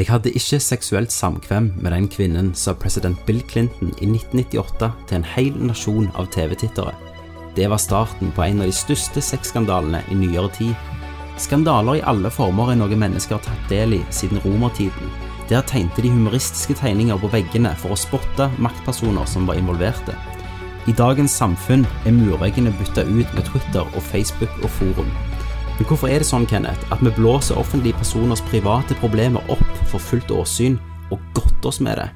Jeg hadde ikke seksuelt samkvem med den kvinnen, sa president Bill Clinton i 1998 til en hel nasjon av TV-tittere. Det var starten på en av de største sexskandalene i nyere tid. Skandaler i alle former er noe mennesker har tatt del i siden romertiden. Der tegnte de humoristiske tegninger på veggene for å spotte maktpersoner som var involverte. I dagens samfunn er murveggene bytta ut med Twitter og Facebook og forum. Men hvorfor er det sånn, Kenneth, at vi blåser offentlige personers private problemer opp for fullt åsyn og godter oss med det?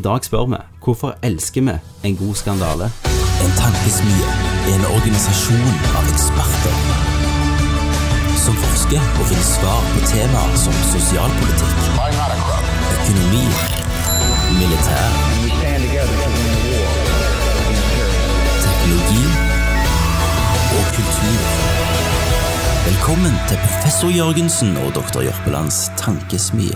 I dag spør vi hvorfor elsker vi en god skandale? En tankesmie er en organisasjon av eksperter som forsker og finner svar på temaer som sosialpolitikk, økonomi, militær, teknologi og kultur. Velkommen til professor Jørgensen og doktor Jørpelands tankesmie.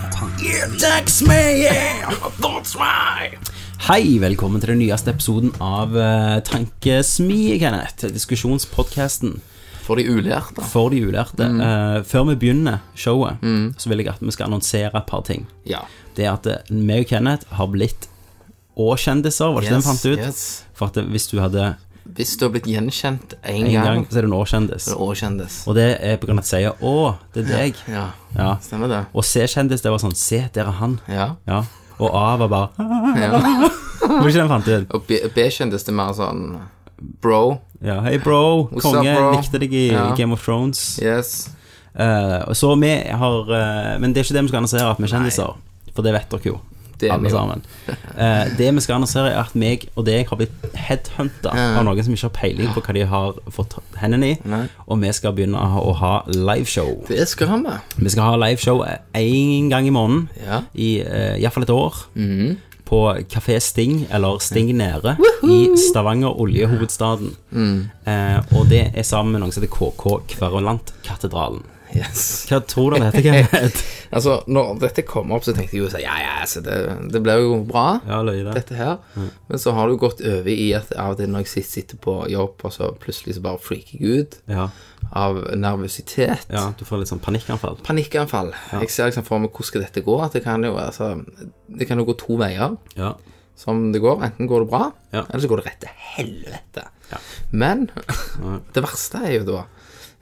Hei, velkommen til den nyeste episoden av uh, Tankesmi, Kenneth. Diskusjonspodkasten For de ulærte. for de ulærte. Mm. Eh, før vi begynner showet, så vil jeg at vi skal annonsere et par ting. Ja. Det er at eh, meg og Kenneth har blitt Å-kjendiser, var det ikke det vi fant ut? yes. For at eh, hvis du hadde Hvis du har blitt gjenkjent én en gang, gang, så er du en Å-kjendis. så er du også kjendis. Og det er på grunn av at jeg sier 'Å, det er deg'. Ja. Ja. Stemmer det? Og C-kjendis, det var sånn 'Se, der er han'. Ja. Ja. Og A var bare ja. Var det ikke det vi fant ut? Og B- B-kjendis det er mer sånn bro. Ja, Hei, bro. What's up, Konge. bro? Likte deg i Ja. Game of Thrones. Yes. Eh, og så vi har eh, Men det er ikke det vi skal annonsere, at vi er kjendiser. For det vet dere jo. Det er alle vi jo. sammen. Eh, det vi skal annonsere, er at meg og deg har blitt headhunta av noen som ikke har peiling på hva de har fått hendene i. Nei. Og vi skal begynne å ha- å ha liveshow. Det skal han med. Vi skal ha liveshow én gang i måneden Ja. i eh, i hvert fall et år. Mhm. På Kafé Sting, eller Sting Nede, i Stavanger, oljehovedstaden. Mm. Eh, og det er sammen med noen som heter KK Kverulantkatedralen. Yes. Hva tror du det heter, Kenneth? Altså, når dette kom opp, så tenkte jeg jo så, ja, ja, så det, det blir jo bra. Ja, løye det. dette her. Men så har du gått over i at av og til når jeg sit- sitter på jobb, og så plutselig så bare freaker jeg ut Ja, av nervøsitet. ja, du får litt sånn panikkanfall. Panikkanfall. Jeg ser liksom for meg hvordan skal dette gå. At det kan jo altså Det kan jo gå to veier Ja. som det går. Enten går det bra, Ja. eller så går det rett til helvete. Men det verste er jo da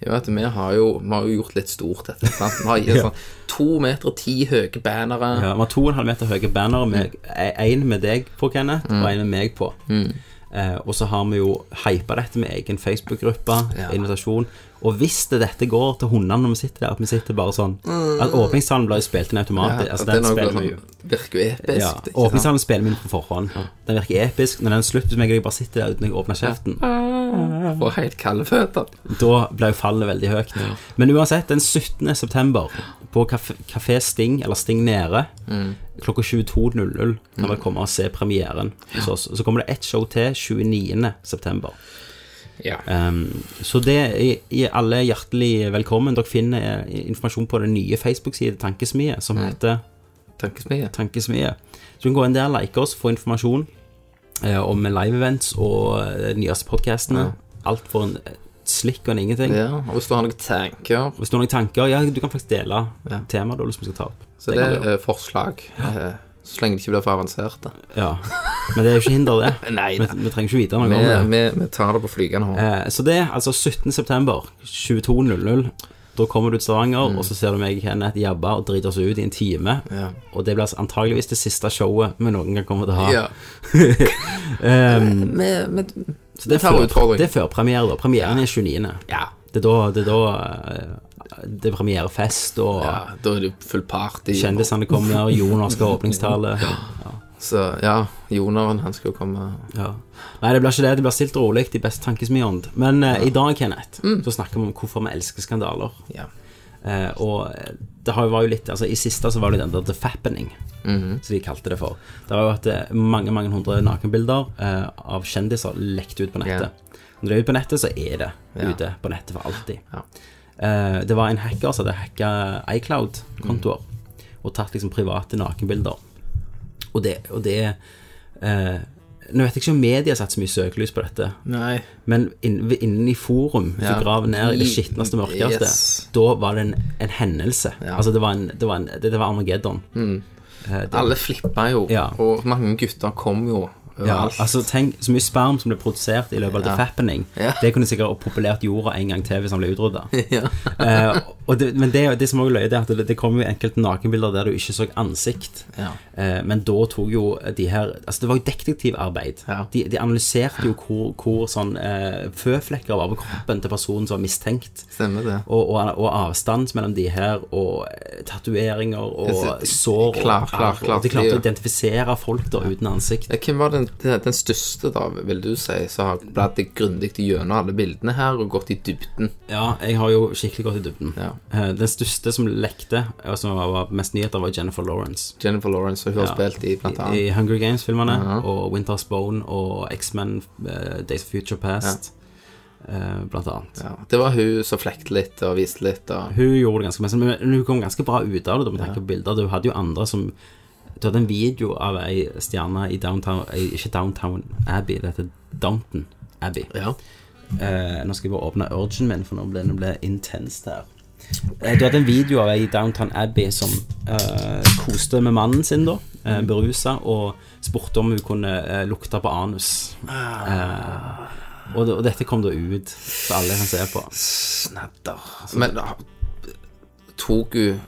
er jo at vi har jo, vi har jo gjort litt stort dette. Sant? Vi har gitt Ja. sånn to meter ti høye bannere. ja. Vi har to og en halv meter høye bannere, Mm. med- e- en med deg på, Kenneth, og en med meg på. Eh, og så har vi jo hypa dette med egen Facebook-gruppe, Ja. invitasjon. Og hvis det dette går til hundene når vi sitter der, at vi sitter bare sånn At åpningstalen blir jo spilt inn automatisk. altså, At Mm. det den er noe spiller vi jo. sånn, virker jo episk. Ja, ikke sant? åpningstalen spiller vi inn på forhånd. Den virker episk. Når den slutter, så merker jeg bare sitter der uten jeg åpner kjeften. Får helt kalde føtter. Da ble jo fallet veldig høyt. Men uansett, den 17. september på Kafé, Kafé Sting, eller Sting Nede, Mm. klokka 22.00 kan dere komme og se premieren hos oss. Og så kommer det ett show til 29. september. Ja. Um, så det er i alle hjertelig velkommen. Dere finner eh, informasjon på den nye Facebook-siden Tankesmie, som heter Tankesmie. Tankesmie. Så du kan gå inn der, like oss, få informasjon eh, om live-events og eh, de nyeste podkastene. Alt for en eh, slikk og en ingenting. Ja, og hvis du har noen tanker, Hvis du har noen tanker, ja, du kan faktisk dele Ja. temaet da liksom skal ta opp. så det kan er du gjøre. eh, forslag. eh, Så lenge det ikke blir for avansert. da. Ja. Men det er jo ikke hinder, det. Nei, vi, da. vi trenger ikke vite noe Vi, om det. vi, vi tar det på flygende hånd. Eh, så det er altså 17. september 22.00. Da kommer du til Mm. Stavanger, og så ser du meg og Kenneth jabbe og drite oss ut i en time. Ja. Og det blir altså antageligvis det siste showet vi noen gang kommer til å ha. Ja. Eh, Ehm, Vi vi- Så det Vi tar er, før, utfordring. det er før premiere, da. Premieren er 29. ja. Det er da det er, da, eh, det er premierefest, og ja. Da er det full party. kjendisene kommer, Jonas skal ha åpningstale. Så ja, Jonaren han skal jo komme Ja. Nei, det blir ikke det. Det blir stilt og rolig i best tankesmiånd. Men eh, i dag, Kenneth, så snakker vi om hvorfor vi elsker skandaler. Ja. Eh, og det har jo var jo litt Altså, i siste så var det jo den der The Fappening, Mhm. som de kalte det for. Det har jo vært eh, mange, mange hundre nakenbilder eh, av kjendiser lekt ut på nettet. Når det er ute på nettet, så er det Ja. ute på nettet for alltid. Ja. Eh, det var en hacker som hadde hacka iCloud-kontoer Mhm. og tatt liksom private nakenbilder. Og det, og det eh, Nå vet jeg ikke om media har satt så mye søkelys på dette, Nei. men innen, innen i forum, hvis Ja. du graver ned i det I- skitneste, mørkeste, yes. da var det en, en hendelse. Ja. Mm. Altså, det var, en, det, var en, det, det var Armageddon. Eh, det- Alle flippa jo, Ja. og mange gutter kom jo Ja, overalt. altså tenk så mye sperm som ble produsert i løpet av The Fappening. Ja. Det kunne sikkert populert jorda en gang til hvis han ble utrydda. Ja. Eh, og det, men det, det som også er løye, det er at det, det kom jo enkelte nakenbilder der du ikke så ansikt. Ja. Eh, men da tok jo de her Altså, det var jo detektivarbeid. Ja. De, de analyserte jo hvor, hvor sånn eh, føflekker var på kroppen til personen som var mistenkt. Stemmer det. Og, og, og avstand mellom de her, og eh, tatoveringer og Altså, sår. klar, og, klar, klar, og de klarte ja. å identifisere folk da uten ansikt. Ja, Hvem var den, den den største, da, vil du si, som har bladd grundig gjennom alle bildene her og gått i dybden? Ja, jeg har jo skikkelig gått i dybden. Ja. Eh, Den største som lekte, og som var mest nyheter, var Jennifer Lawrence. Jennifer Lawrence, som hun har Ja. spilt i, blant I annet. Hunger Games-filmerne, og Winter's Bone, og X-Men, eh, Days of Future Past, eh, blant annet. Ja. Det var hun som flekte litt og viste litt og Hun gjorde det ganske mest, men men hun kom ganske bra ut av det, da, med tanke på bilder. Du hadde jo andre som Du hadde en video av ei stjerne i Downtown eh, Ikke Downtown Abbey, det heter Downton Abbey. Ja. Eh, nå skal jeg bare åpne urgen min, for nå ble det ble intenst her. Eh, Du hadde en video av ei i Downtown Abbey som eh, koste med mannen sin, da. Eh, Berusa, og spurte om hun kunne eh, lukte på anus. Eh, og, det- og dette kom da ut, så alle kan se på. Snadder. Men ah, tok hun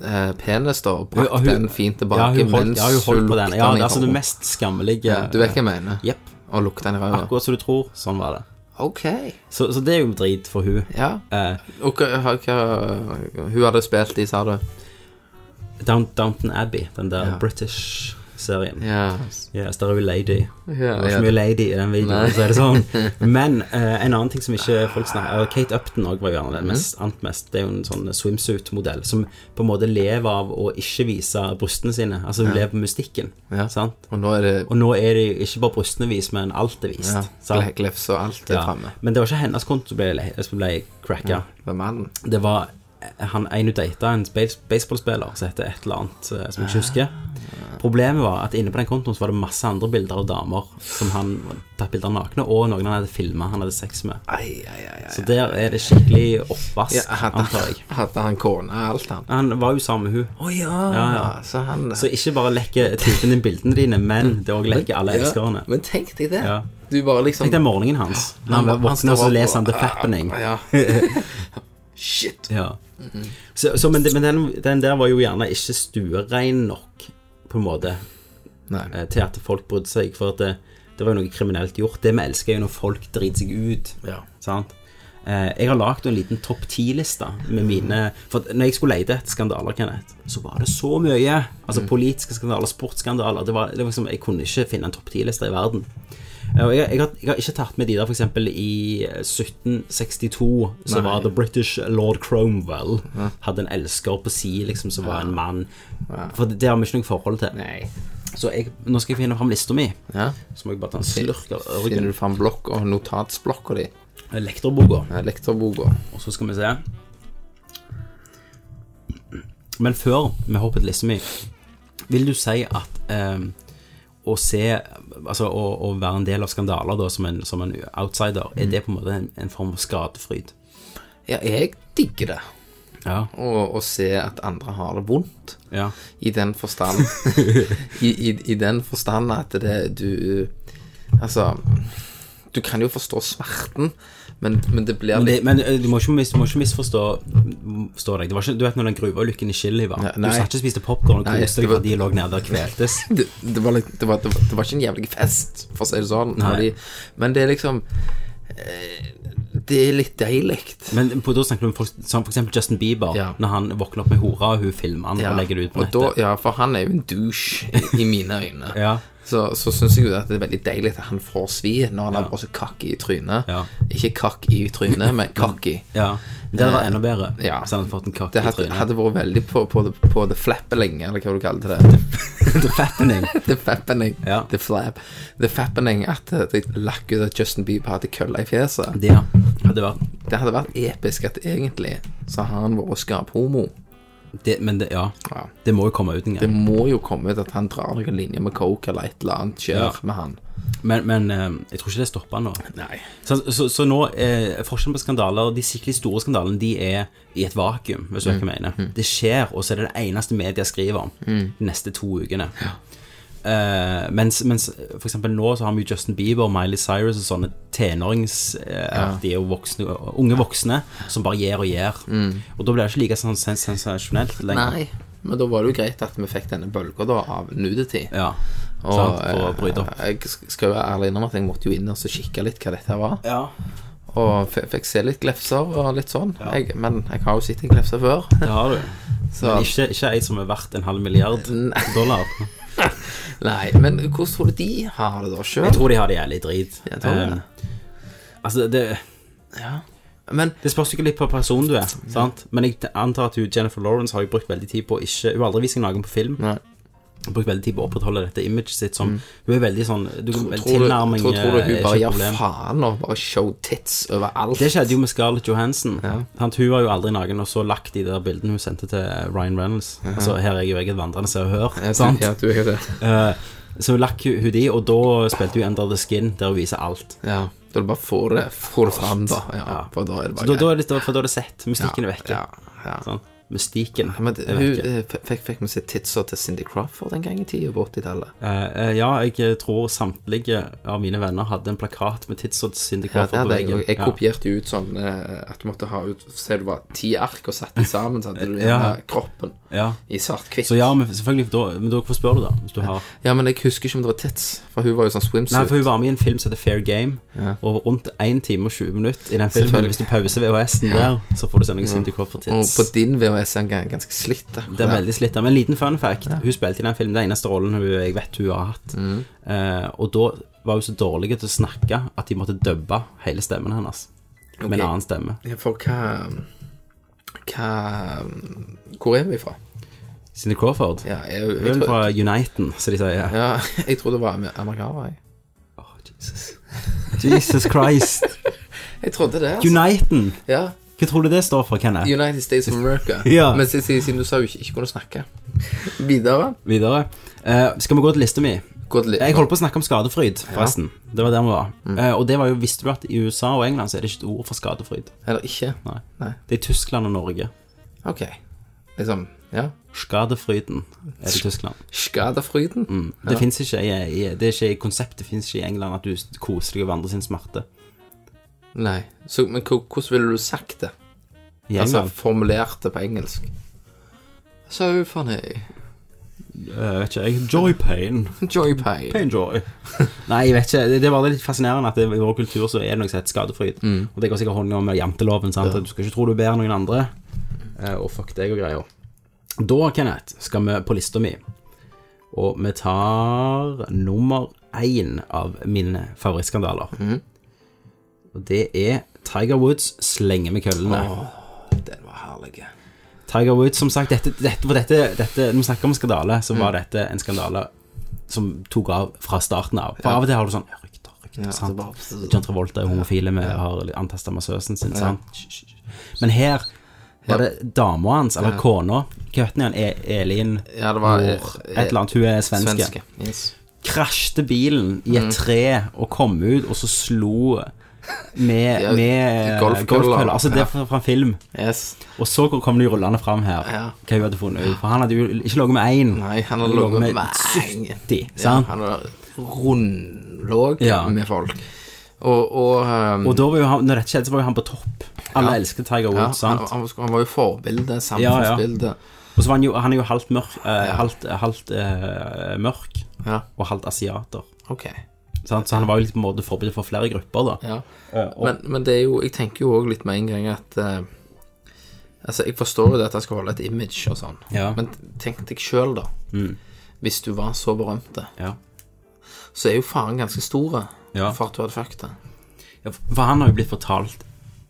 eh, penis, da, og brakk Hun- hun- den fint Ja, tilbake hun holdt, mens ja, hun holdt på den. Ja, den i altså det hånden? mest skammelige Ja, Du vet hva jeg mener? Jepp. Og lukta den i røret? Akkurat som du tror. Sånn var det. Ok. Så, så det er jo drit for hun Ja. Eh, Og hva, hva- hva Hun hadde spilt i, sa du? Down, Downton Abbey, den der Ja. British-serien. Ja. Yes, der er vi lady. Ja, det var ja. ikke mye lady i den videoen, Nei. så er det sånn. Men eh, en annen ting som ikke folk snakker og Kate Upton også var jo gjerne den Mm. mest, annet mest. Det er jo en sånn swimsuit-modell som på en måte lever av å ikke vise brystene sine. Altså hun lever på mystikken. Ja. Sant? Og nå er det Og nå er det jo ikke bare brystene vist, men alt er vist. ja, sant? Glefse og alt er Ja. framme. Men det var ikke hennes konto som ble, som ble cracka. Det er mannen. Det var eh, han en hun data, en base- baseballspiller som heter et eller annet eh, som jeg ikke husker. Eh. Problemet var at inne på den kontoen så var det masse andre bilder av damer som han tatt bilder av nakne, og noen han hadde filma han hadde sex med. Ai, ai, ai, ai. Så der er det skikkelig oppvask, Ja, hadde, antar jeg. hadde han kone alt, han? Han var jo sammen med hun. Å ja. ja. Så han Så ikke bare lekker typen din bildene dine, men det òg lekker alle Ja, elskerne. Men tenk deg det. Ja. Du bare liksom Tenk den morgenen hans. Når han våkner, står og så opp leser han The og- Fappening. Ja. Shit. Ja. Så, så, men det- men den, den der var jo gjerne ikke stuerein nok, på en måte. Nei. eh, til at folk brydde seg, for at det, det var jo noe kriminelt gjort. Det vi elsker er jo når folk driter seg ut. Ja. Sant? Eh, jeg har lagd en liten topp ti-liste med mine For at når jeg skulle lete etter skandaler, Kenneth, så var det så mye. Altså politiske skandaler, sportsskandaler det var, det var liksom, Jeg kunne ikke finne en topp ti-liste i verden. Eh, Og jeg, jeg, har, jeg har ikke tatt med de der, for eksempel i 1762 så var The British Lord Cromwell hadde en elsker på si, liksom, som var en mann. For det, det har vi ikke noe forhold til. Nei. Så jeg, nå skal jeg finne fram lista mi. Ja. Så må jeg bare ta en slurk av Finner ørgen. du fram blokk og notatsblokka di? Elektroboka. Ja, Lektorboka. Og så skal vi se. Men før vi hopper til lista mi, vil du si at eh, å se Altså å, å være en del av skandaler da, som en, som en outsider, Mm. er det på en måte en, en form for skadefryd? Ja, jeg digger det. Ja. Å å se at andre har det vondt. ja. I den forstand I, i, I den forstand at det du Altså Du kan jo forstå smerten, men, men det blir Men, litt det, men eh, du, må ikke mis, du må ikke misforstå forstå deg. Det var ikke, du vet når den gruveulykken i Chili var? Nei, Du nei. satt ikke og spiste popkorn og Nei, koste det deg var- fordi de lå nede og kveltes. det, det, var litt, det, var, det, var, det var ikke en jævlig fest, for å si det sånn. når Nei. De, men det er liksom eh, Det er litt deilig. Men på, da snakker du om folk som for eksempel Justin Bieber, Ja. når han våkner opp med hora, og hun filmer han og legger det ut på og da, nettet. ja, for han er jo en douche i, i mine øyne. Ja. Så, så syns jeg jo at det er veldig deilig at han får svi når han har bare så kakk i trynet. Ja. Ikke kakk i trynet, men kakk i. ja. Men det hadde vært enda bedre ja. hvis han hadde fått en kake Det i hadde, trynet. hadde vært veldig på, på, the, på the flappeling, eller hva du kaller det. The fattening. The fappening. Ja. The flap. The fappening at de lakk ut at Justin Bieber hadde kølla i fjeset. Det ja. hadde vært Det hadde vært episk at egentlig så har han vært skaphomo. Det, men det, ja, Ja. det må jo komme ut en Det gang. må jo komme ut at han drar noen linjer med coke eller et eller annet skjer Ja. med han. Men, men eh, jeg tror ikke det stopper nå. Nei. Så, så, så nå, eh, forskjellen på skandaler, de skikkelig store skandalene, de er i et vakuum, hvis du vet Mm. hva jeg mener. Det skjer, og så er det det eneste media skriver om Mm. de neste to ukene. Eh, mens, mens for eksempel nå så har vi jo Justin Bieber, Miley Cyrus og sånne tenårings... Eh, De er jo voksne, unge voksne som bare gjør og gjør. Og da blir det ikke like sånn sens sensasjonelt lenger. Mm. Nei. Men da var det jo greit at vi fikk denne bølga da av nudity. Ja, Og sant, for å bryte opp. eh, jeg sk- skal jo være ærlig innrømme at jeg måtte jo inn og så kikke litt hva dette var. Ja. Og f- fikk se litt glefser og litt sånn. Jeg, men jeg har jo sett en glefse før. Det har du. Så Ikke, ikke ei som er verdt en halv milliard Nei. dollar. Nei, men hvordan tror du de har det da Jeg sjøl? tror de har det jævlig drit. Jeg tror det. Eh, altså, det, Ja. Men det spørs jo ikke litt på personen du er, Mm. sant? men jeg antar at hun, Jennifer Lawrence har jo brukt veldig tid på å ikke Hun har aldri vist seg naken på film. Nei. Hun har brukt veldig tid på å opprettholde dette imaget sitt som Hun er veldig sånn du, Mm. tror, tror, du, Tilnærming tror, tror du eh, hun er bare ikke et gir problem. faen og bare show tits overalt? Det skjedde jo med Scarlett Johansen. Ja. Sant? Hun var jo aldri naken, og så lagt de der bildene hun sendte til Ryan Reynolds. Altså, her er jeg jo jeg et vandrende Se og Hør. Ja, Sant? Ja, du er det. Eh, så hun lakk hun hun de, og da spilte hun Ender the Skin, der hun viser alt. Ja. Da du bare får det, får det fram, da. Ja, For da er det Så bare da, da greit. er det, da- for da er det sett. Mystikken er vekke. Ja, ja. Sånn. Mystikken Men det, er hun vekke. eh, f- fikk, fikk vi se titsa til Cindy Crawford en gang i tida på 80-tallet. Eh, eh, ja, jeg tror samtlige av mine venner hadde en plakat med Tidsod Cindy Ja, Crawford det på hadde jeg, veggen. og jeg kopierte jo ut sånn eh, at du måtte ha ut Se det var ti ark og satt de sammen, så hadde du Eh, Ja. denne kroppen Ja. i svart-hvitt. Så ja, men selvfølgelig da, Men da, hvorfor spør du, da? Hvis du har Ja, men jeg husker ikke om det var tits, for hun var jo sånn swimsuit. Nei, for hun var med i en film som heter Fair Game, og rundt 1 time og 20 minutter i den filmen Hvis Selvfølgelig. du pauser VHS-en der, så får du se noe Cindy Og Crawford-tids. på din VHS er den gan- ganske slitt. da. Det er veldig slitt. da. Men en liten fun fact. Hun spilte i den filmen den eneste rollen hun, jeg vet hun har hatt. Mm. Eh, og da var hun så dårlig til å snakke at de måtte dubbe hele stemmen hennes med en Ok. annen stemme. Ja, For hva Hva Hvor er vi fra? Cindy Crawford. Ja, jeg, jeg, Hun er tror, fra Uniten, som de sier. ja, jeg tror det var amer- amerikaner, jeg. Åh, Jesus. Jesus Christ. Jeg trodde det. Altså. Uniten. Ja, Hva tror du det står for, Kenneth? United States of America. Ja. Men siden- siden siden du sa jo ikke, ikke kunne snakke. Videre. Videre. Eh, skal vi gå til lista mi? Gå til Jeg holdt på å snakke om skadefryd, forresten. Det var der vi var. Eh, og det var jo, visste du at i USA og England så er det ikke et ord for skadefryd? Eller ikke. Nei. Nei. Det er i Tyskland og Norge. Ok. Liksom Ja. Skadefryden er det i Tyskland. Mm. Skadefryden. Det finnes ikke i, i, det er ikke i konseptet finnes ikke i England at du s- koser deg over andre sin smerte. Nei. Så, men hvor- hvordan ville du sagt det? I Altså England? formulert det på engelsk. So funny. Eh, vet ikke jeg. Joy pain. Joy pain. Pain joy. Nei, jeg vet ikke. Det, det var litt fascinerende at det, i vår kultur så er det noe som heter skadefryd. Mm. Og det går sikkert hånd i hånd med janteloven. sant? At Du skal ikke tro du er bedre enn noen andre. Eh, og fuck deg og greier. Da, Kenneth, skal vi på lista mi. Og vi tar nummer én av mine favorittskandaler. Og det er Tiger Woods slenger med køllene. Den var herlig. Tiger Woods, som sagt, dette, dette, for dette, dette, når vi snakker om skandale, så var dette en skandale som tok av fra starten av. For av og til har du sånn ja, rykter, rykter, Ja, sant. altså bare- John Travolta er homofile, vi har antasta massøsen sin, sant. Hysj, hysj, hysj. Men her var det dama hans, eller kona. Hva het hun igjen? E- Elin Ja, det var, eh, Mohr, Et eller annet. Hun er svenske. Svenske. Mm. Yes. Krasjte bilen i et tre og kom ut, og så slo med, Ja, med golfkøller. golfkøller. Altså, det Ja. er fra, fra en film. yes. Og så kom de rullende fram her, Ja. hva hun hadde funnet ut. For han hadde jo ikke ligget med én, Nei, han har han lå ligget med med mange. 70, Ja, sant? han har rundlåg Ja. med folk. Og, og, um, Og da var jo han, når dette skjedde, så var jo han på topp. Alle Ja. elsket Tiger ja, Woods, han, sant? han, var- han var jo forbilde, Ja, ja. samfunnsbilde. Og så var han jo, han er jo halvt mørk, eh, halvt, halvt eh, mørk Ja, og halvt asiater. ok. Sant? Så han var jo litt på en måte forbilde for flere grupper, da. Ja. Eh, og, Men, men det er jo, jeg tenker jo også litt med en gang at eh, Altså, jeg forstår jo det at han skal holde et image og sånn, Ja. Mm. men tenk deg sjøl, da. Hvis du var så berømt, ja. så er jo faren ganske stor Ja. for at du hadde fucket det. Ja, For han har jo blitt fortalt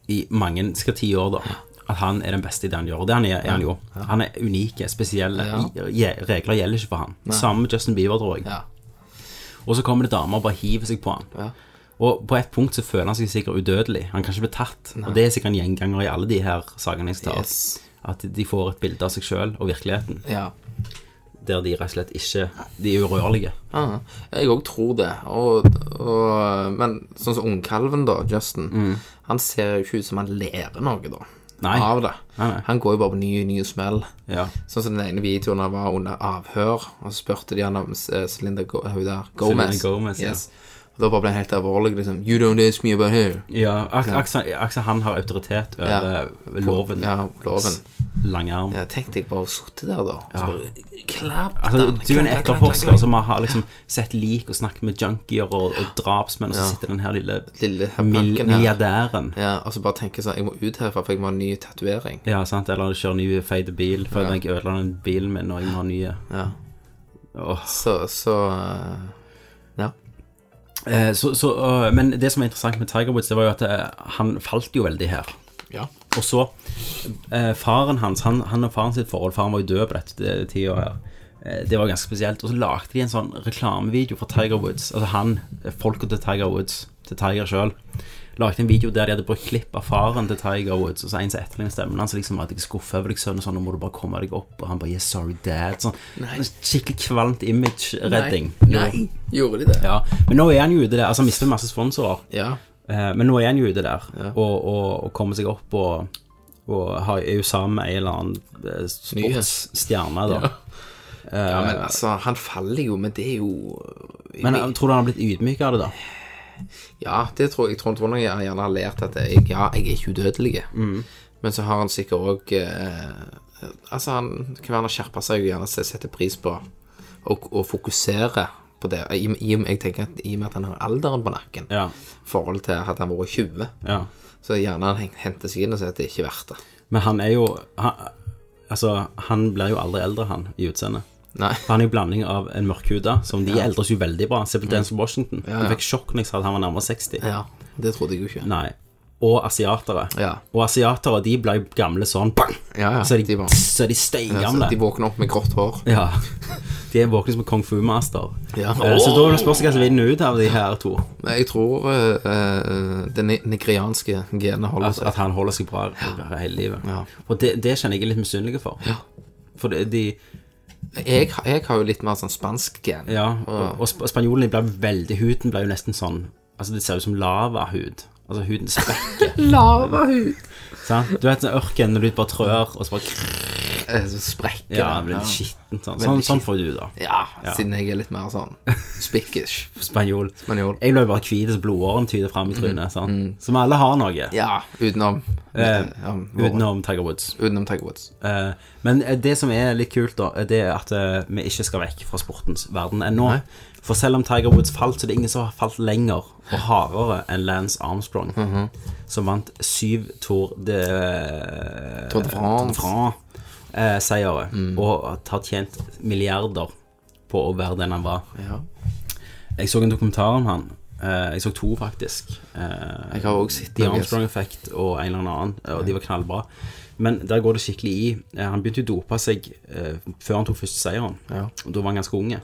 i mange, skal ti år da, at han er den beste i det han gjør. Og det han er, er han jo. Han er unik, eh, spesiell. Je- Regler gjelder ikke for han. Samme med Justin Bieber, tror jeg. Ja. Og så kommer det damer og bare hiver seg på han. Og på et punkt så føler han seg sikkert udødelig. Han kan ikke bli tatt. Og det er sikkert en gjenganger i alle de her sakene jeg tar. Yes. At de får et bilde av seg sjøl og virkeligheten, Ja. der de rett og slett ikke De er urørlige. Ah, jeg òg tror det. Og, og, men sånn som ungkalven, da, Justin, han ser jo ikke ut som han lærer noe, da. Mm. Nei. Av det. Nei, nei. Han går jo bare på ny, ny smell. Ja. Sånn som den ene videoen han var under avhør, og så spurte de han om eh, Celinda Go hun der, Gomez. Gomez, ja. Og da bare ble han helt alvorlig, liksom. You don't ask me about her. Ja, ak akkurat- akkurat han har autoritet over loven. Ja, loven. Langarm. Ja, Tenk deg bare å sitte der, da. Ja. Bare, klapp Altså, den, du er en klapp, klapp, klapp, etterforsker klapp. som har liksom sett lik og snakket med junkier og, og drapsmenn, og så sitter den her lille, Lille mil punken her. milliardæren Ja, og så bare tenke sånn Jeg må ut herfra, for jeg må ha en ny tatovering. Ja, sant? Eller kjører ny feit bil, for jeg ødela den bilen min, og jeg må ha nye. Ja. Åh. Så, så eh, Ja. Eh, så, så, øh, men det som er interessant med Tiger Woods, det var jo at eh, han falt jo veldig her. Ja. Og så eh, Faren hans, han, han og faren sitt forhold Faren var jo død på dette tida her. Eh, det var ganske spesielt. Og så lagde de en sånn reklamevideo for Tiger Woods. Altså han, eh, folka til Tiger Woods, til Tiger sjøl. Lagde en video der de hadde brukt klipp av faren til Tiger Woods. Og så en som etterlignet stemmen hans, liksom at jeg er skuffet over deg, sønn, og sånn, nå må du bare komme deg opp. Og han bare yes, sorry, dad. Sånn skikkelig kvalmt image-redding. Nei. Gjorde de det? Ja, men nå er han jo ute der. Altså, han mistet masse sponsorer. Ja. Eh, men nå er han jo ute der og, og, og kommer seg opp og, og har, er jo sammen med en eller annen eh, sportsstjerne, da. ja. Men altså, han faller jo, men det er jo Men eh, tror du han har blitt ydmyk av det, da? Ja, det tror jeg. Jeg tror, tror nok jeg gjerne har lært at jeg, ja, jeg er ikke udødelig. Mm. Men så har han sikkert òg eh, Altså, han kan være han har skjerpa seg og gjerne se- setter pris på og, og fokuserer på det. I, i, jeg tenker at i og med at han har alderen på nakken, Ja. i forhold til at han var 20, ja. så er gjerne han hen- henter seg inn og sier at det er ikke verdt det. Men han er jo han, Altså, han blir jo aldri eldre, han, i utseendet. Nei. For han er jo blanding av en mørkhuda, som de eldres jo veldig bra. Se på Denzel Washington. Han fikk sjokk når jeg sa at han var nærmere 60. Ja, det trodde jeg jo ikke. Nei. Og asiatere. Ja. Og asiatere, de ble gamle sånn, bang! Ja, ja, så er de, de var- så er de Altså, steingamle. de våkner opp med grått hår. Ja. De er våkne som en kung fu-master. Ja. Eh, Så da vil det spørs hva som vinner ut av de her to. Men jeg tror eh, eh, det ni- nigerianske genet holder At, seg. at han holder seg bra hele livet. Ja. Og det, det kjenner jeg er litt misunnelig for. Ja. For det, de Jeg, har- jeg har jo litt mer sånn spansk gen. Ja, og, og sp- spanjolene ble veldig Huden ble jo nesten sånn Altså, det ser ut som lavahud. Altså, huden sprekker. Lavahud. sant? Du vet sånn ørken når du bare trør, og så bare krr, Eh, Så sprekker Ja, det. blir litt skitten. Sånn, sånn, sånn får du, da. Ja, siden jeg er litt mer sånn spikkish. Spanjol. Mm. Spanjol. Jeg ble bare hvit, så blodårene tyder fram i trynet. sant? Så vi alle har noe. Ja, utenom Eh, ja, vår- Utenom Tiger Woods. utenom Tiger Woods. Eh, Men eh, det som er litt kult, da, eh, det er at eh, vi ikke skal vekk fra sportens verden ennå. For selv om Tiger Woods falt, så er det ingen som har falt lenger og hardere enn Lance Armstrong, Mhm. som vant syv Tour de eh, Tour de France. Mm. France-seiere, eh, og har tjent milliarder på å være den han var. Ja. Jeg så en dokumentar om han. Eh, Jeg så to, faktisk. Eh, Jeg har også sett The noe. Armstrong Effect og en eller annen, og de var knallbra. Men der går det skikkelig i. Eh, Han begynte jo å dope seg eh, før han tok første seieren. Ja. Og Da var han ganske unge.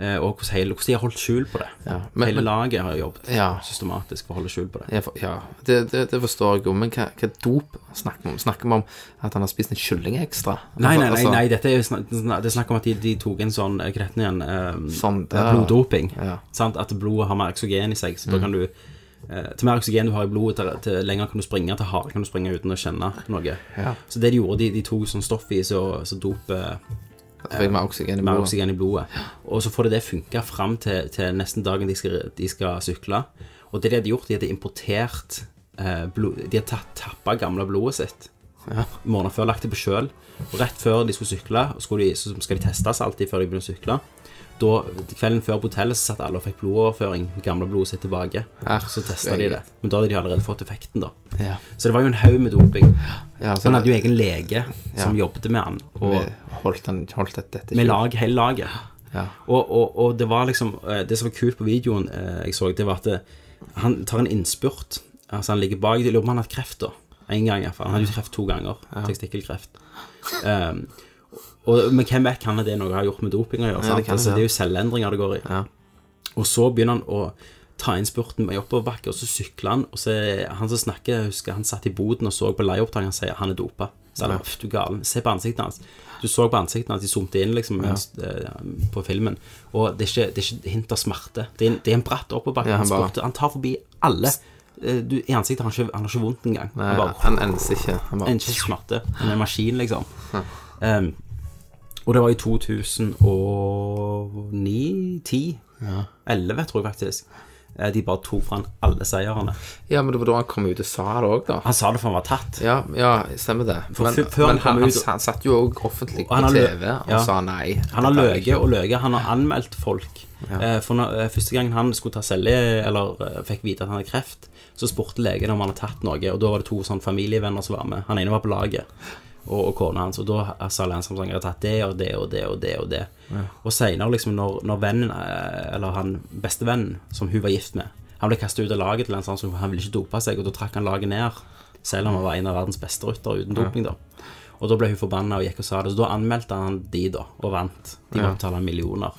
Eh, og hvordan, hele, hvordan de har holdt skjul på det. Ja, men- hele men- laget har jobbet Ja. systematisk for å holde skjul på det. Jeg for- ja det, det, det forstår jeg jo, men hva, hva dop snakker vi om? Snakker vi om at han har spist en kylling ekstra? Nei, nei, nei, Altså, nei dette er jo snak, snak- det er snakk om at de, de tok en sånn eh, Hva heter den igjen? Eh, Sånn, eh, ja. bloddoping. Ja. Sant? At blodet har mer oksygen i seg. Så da kan du eh, Til mer oksygen du har i blodet, til, til lenger kan du springe, til hardere kan du springe uten å kjenne noe. Ja. Så det de gjorde, de, de tok sånn stoff i så, så dop eh, Da fikk vi oksygen i mer blodet. oksygen i blodet. Og så får det det funke fram til, til nesten dagen de skal, de skal sykle. Og det de hadde gjort, de hadde importert eh, blod De hadde tatt- tappa gamle blodet sitt Ja. morgenen før, lagt det på kjøl. Og rett før de skulle sykle, skulle de, så skal de testes alltid før de begynner å sykle. Da, kvelden før på hotellet så satt alle og fikk blodoverføring, det gamle blodet sitt tilbake. Ja. Så testa de det. Men da hadde de allerede fått effekten, da. Ja. Så det var jo en haug med doping. Ja, Så så han det, hadde jo egen lege som jobbet med han. Og vi holdt, han, holdt dette, dette med skjult. lag, hele laget. Ja. Og, og, og det var liksom eh, Det som var kult på videoen eh, jeg så, det var at det, han tar en innspurt. Altså Han ligger bak. Jeg lurer på om han har hatt kreft, da. En gang, iallfall. Han hadde jo kreft to ganger. Testikkelkreft. Um, og, men hvem vet, kan det noe ha gjort med doping å gjøre? sant? det kan det, altså, ja. det er jo selvendringer det går i. Ja. Og så begynner han å ta innspurten med oppoverbakke, og så sykler han. Og så er han som snakker, jeg husker han satt i boden og så på liveopptak, han sier han er dopa. Så han, «Pff, du er galen. Se på ansiktet hans. Du så på ansiktet hans, de zoomte inn liksom, mens, eh, på filmen. Og det er ikke, det er ikke hint av smerte. Det er en, det er en bratt oppoverbakke. Ja, han han, bare- spurte- han tar forbi alle. Eh, Du, I ansiktet har han ikke, han har ikke vondt engang. Nei, han bare han enser ikke. Han bare en ikke smerte, men en maskin, liksom. Ehm, og det var i 2009, 10, 11, tror jeg faktisk. eh, De bare tok fra han alle seierne. Ja, men det var da han kom ut og sa det òg, da. Han sa det for han var tatt. Ja, ja, stemmer det. Men, før- før han men kom han, han ut- sa- satt jo òg offentlig Og han på har lø- TV og ja. sa nei. Han har Dette er løyet og løyet. Han har anmeldt folk. Eh, For når, eh, første gangen han skulle ta celje, eller eh, fikk vite at han hadde kreft, så spurte legen om han hadde tatt noe, og da var det to sånn familievenner som var med. Han ene var på laget, og, og kona hans, og da sa Lenshamsen at han hadde tatt det og det og det og det. Og det. Og seinere, liksom, når, når vennen, eh, eller han bestevennen som hun var gift med, han ble kasta ut av laget til Lenshamsen, for han ville ikke dope seg, og da trakk han laget ned, selv om han var en av verdens beste ryttere uten doping, da. Og da ble hun forbanna og gikk og sa det, så da anmeldte han de, da, og vant. De måtte betale millioner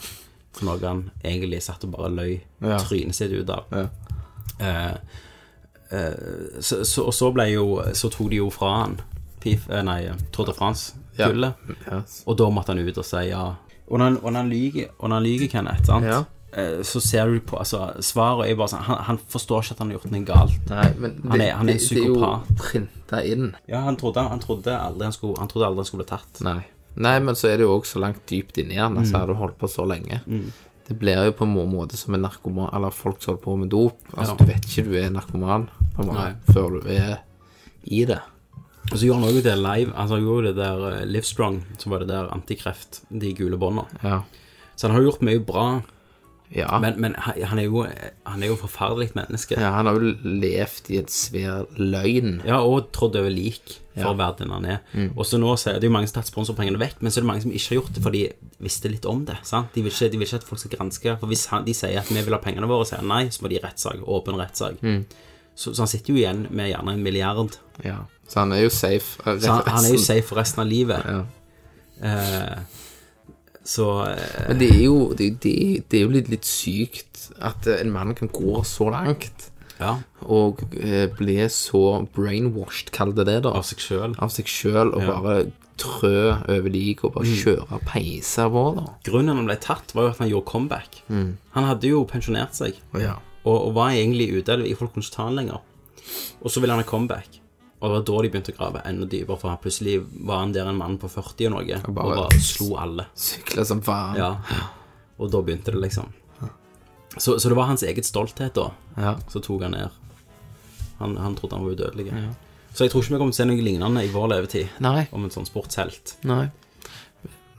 for noe han egentlig satt og bare løy Ja. trynet sitt ut av. Ja. Eh, eh, så, så, og så ble jo Så tok de jo fra han Pif, eh, Nei, Tour de France-gullet. Ja. Og da måtte han ut og si ja. Og når han, og når han lyger, og når han lyger Kenneth, sant? Ja. Eh, så ser du på altså, Svaret er bare sånn han, han forstår ikke at han har gjort noe galt. Nei, men det, Han er- han er det- Det er psykopat. jo printa inn. Ja, han trodde, han, trodde aldri han, skulle, han trodde aldri han skulle bli tatt. Nei. Nei, men så er det jo òg så langt dypt inni han. Altså, Mm. har du holdt på så lenge. Det blir jo på en må- måte som en narkoman, eller folk som holder på med dop. Altså, Ja. Du vet ikke du er narkoman på en måte før du er i det. Og så gjorde han også det live. Altså, han gjorde det der eh, Livestrong, som var det der antikreft, de gule båndene. Ja. Så han har jo gjort mye bra, ja. men, men han han er jo han er jo forferdelig menneske. Ja. ja han har jo levd i en svær løgn. og trådt over lik for verden han er. Og så nå så er det jo mange som har tatt sponsorpengene vekk, men så er det mange som ikke har gjort det, for de visste litt om det. sant? De vil ikke, de vil ikke at folk skal granske. For hvis han, de sier at vi vil ha pengene våre, og sier han nei, så må de i rettssak. Åpen rettssak. Så, så han sitter jo igjen med gjerne en milliard. Ja. Så han er jo safe. eh, Så han, han er jo resten. safe for resten av livet. Ja. Eh, så eh, Men det er jo, det, det, det er jo litt, litt sykt at eh, en mann kan gå så langt. ja. Og eh, ble så brainwashed, kall det det, da. av seg sjøl. av seg sjøl og bare trø over lik og bare Mm. kjøre peisa vår, da. Grunnen han ble tatt, var jo at han gjorde comeback. Han hadde jo pensjonert seg, Ja. og, og var egentlig ute. eller Folk kunne ikke ta han lenger. Og så ville han ha comeback. Og det var da de begynte å grave enda dypere, for han plutselig var han der en mann på 40 og noe, og bare- bare, slo alle. Sykle som faen. Ja. Og da begynte det, liksom. Så, så det var hans eget stolthet, da, Ja. som tok han ned. Han, han trodde han var udødelig. Så jeg tror ikke vi kommer til å se noe lignende i vår levetid, Nei. om en sånn sportshelt. Nei.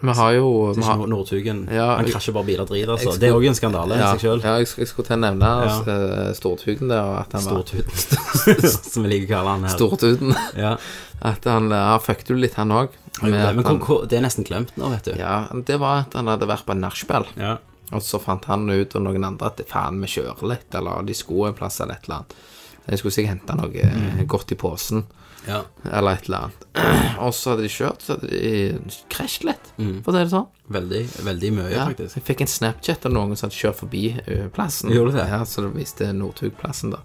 Vi har jo vi Ikke har, Nord- Nordtugen. Ja, han jeg- krasjer bare biler og driter. jeg Altså. skulle- Det er òg en skandale i ja, seg sjøl. ja, jeg, sk- jeg skulle til å nevne eh, Stortugen der, og at han var Stortuten, som vi liker å kalle han her. Stortuten. Ja. At han ja, fucket jo litt, han òg. Men, hvor- hvor- det er nesten glemt nå, vet du. ja, det var at han hadde vært på en nachspiel, Ja. og så fant han ut og noen andre at faen, vi kjører litt, eller de skulle en plass eller et eller annet. De skulle sikkert hente noe Mm. eh, godt i posen. Ja. eller et eller annet. Og så hadde de kjørt, så hadde de krasjet litt, for å si det sånn. Mm. Veldig, veldig mye, Ja, faktisk. jeg fikk en Snapchat av noen som hadde kjørt forbi ø, plassen. Gjorde du det? Ja, så det viste Northug-plassen, da.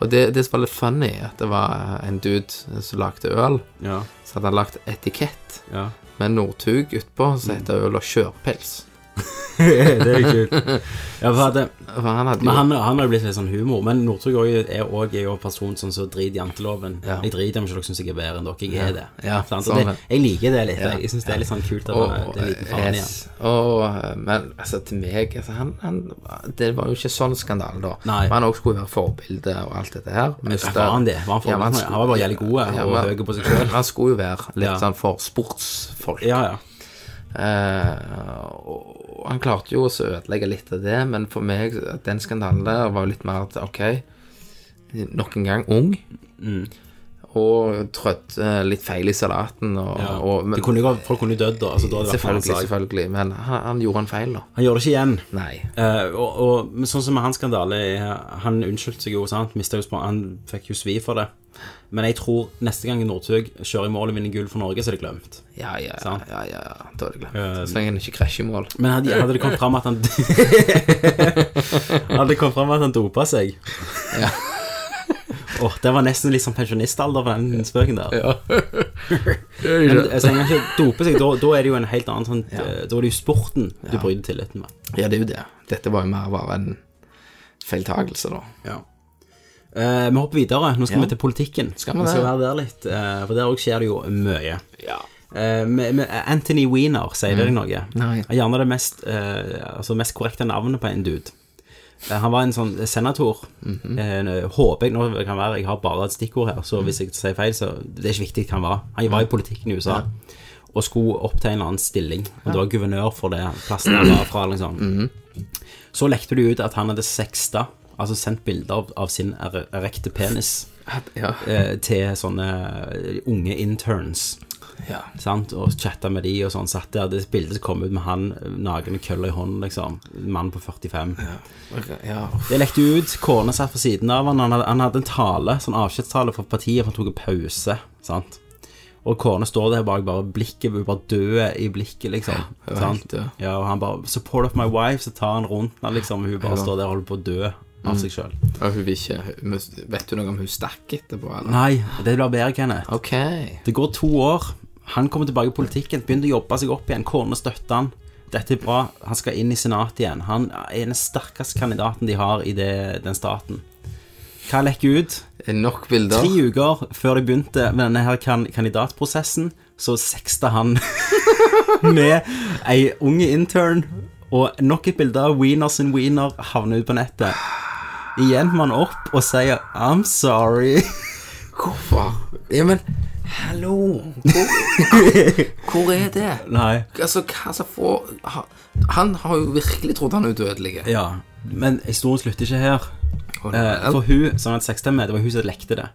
Og det, det som var litt funny, at det var eh, en dude som lagde øl, Ja. så hadde han lagt etikett ja. med Northug utpå, Mm. så heter øla kjørpils. det er kult. Ja, for at det, For han hadde men jo han, han har jo blitt litt sånn humor. Men Northug også er òg en person som så driter i janteloven. Ja. Jeg driter om ikke dere syns jeg er bedre enn dere. Jeg er det. Ja, Sant? sånn Og er det det. jeg liker det litt. Ja. Jeg syns det er litt sånn kult at han er- og, det er en liten faen igjen. yes. og, men altså, til meg altså, han, han, Det var jo ikke sånn skandale, da. Nei. Men han også skulle være forbilde og alt dette her. Mister- Var han det? Var han, Ja, men forberedt? han var bare jævlig god Ja, og men- høy på seg sjøl. Han skulle jo være litt Ja. sånn for sportsfolk. Ja, ja. Eh, og og han klarte jo også å ødelegge litt av det, men for meg, den skandalen der var jo litt mer at OK, nok en gang ung. Mm. Og trødde litt feil i salaten. Og, ja. og, men, det kunne jo, vært- folk kunne jo dødd, da. Altså, da hadde det vært en annen selvfølgelig, sak. selvfølgelig. Men han, han gjorde en feil, da. Han gjør det ikke igjen. Nei. Eh, og, og men sånn som med hans skandale eh, Han unnskyldte seg jo, sant? Mistet jo spon- han fikk jo svi for det. Men jeg tror neste gang Northug kjører i mål og vinner gull for Norge, så er det glemt. Ja, ja, ja, Sant. Eh, ja, ja. Da er det glemt. Så lenge han ikke krasjer i mål. Men hadde, hadde det kommet fram at han Hadde det kommet fram at han dopa seg Åh, det var nesten litt sånn pensjonistalder på den spøken der. Ja. Men altså, en gang ikke dope seg, da, da er det jo en helt annen sånn eh, Da er det jo sporten du bryter tilliten med. ja, det er jo det. Dette var jo mer bare en feiltagelse, da. Eh, vi hopper videre. Nå skal vi til politikken. Skal vi det? skal være der litt, eh, for der òg skjer det jo mye. Ja. Eh, men- men Anthony Weiner, sier det deg noe? Nei. Er Gjerne det mest, eh, altså mest korrekte navnet på en dude. Eh, han var en sånn senator. Eh, håper jeg nå kan være Jeg har bare et stikkord her, så hvis jeg sier feil, så det er ikke viktig hva han var. Han var i politikken i USA. Og skulle oppta en eller annen stilling. Og det var guvernør for det plassen han var fra. liksom Så lekte det ut at han hadde sexta, altså sendt bilder av, av sin er- erekte penis, Ja. eh, til sånne eh, unge interns ja. sant? og chatta med de og sånn. Satt der, det bildet som kom ut med han eh, naken og kølla i hånden, liksom. Mann på 45. Ok, ja. Det lekte ut, kona satt ved siden av han, han hadde, han hadde en tale, sånn avskjedstale for partiet, for han tok en pause, sant. Og kona står der bak, bare blikket bare døde i blikket, liksom. hun er helt sant? død. Ja, og han bare 'Support of my wife', så tar han rundt henne, liksom, og hun bare står der og holder på å dø av seg sjøl. Ja, hun vil ikke hun- Vet du noe om hun stakk etterpå, eller? Nei, det blir bedre, Kenneth. OK. Det går to år. Han kommer tilbake i politikken, begynner å jobbe seg opp igjen. Kona støtter han. Dette er bra. Han skal inn i senatet igjen. Han er den sterkeste kandidaten de har i det, den staten. Hva lekker ut? Nok bilder. Tre uker før de begynte med denne her kan kandidatprosessen, så sexta han med ei unge intern, og nok et bilde av Wieners and Wiener havner ut på nettet. Igjen må han opp og sier 'I'm sorry'. Hvorfor? Ja, men hallo! Hvor, hvor er det? Nei. Altså, hva som får ha- Han har jo virkelig trodd han er udødelig. Ja, men historien slutter ikke her. Å, nei. Eh, for hun som hadde sexstemme, det var hun som lekte det.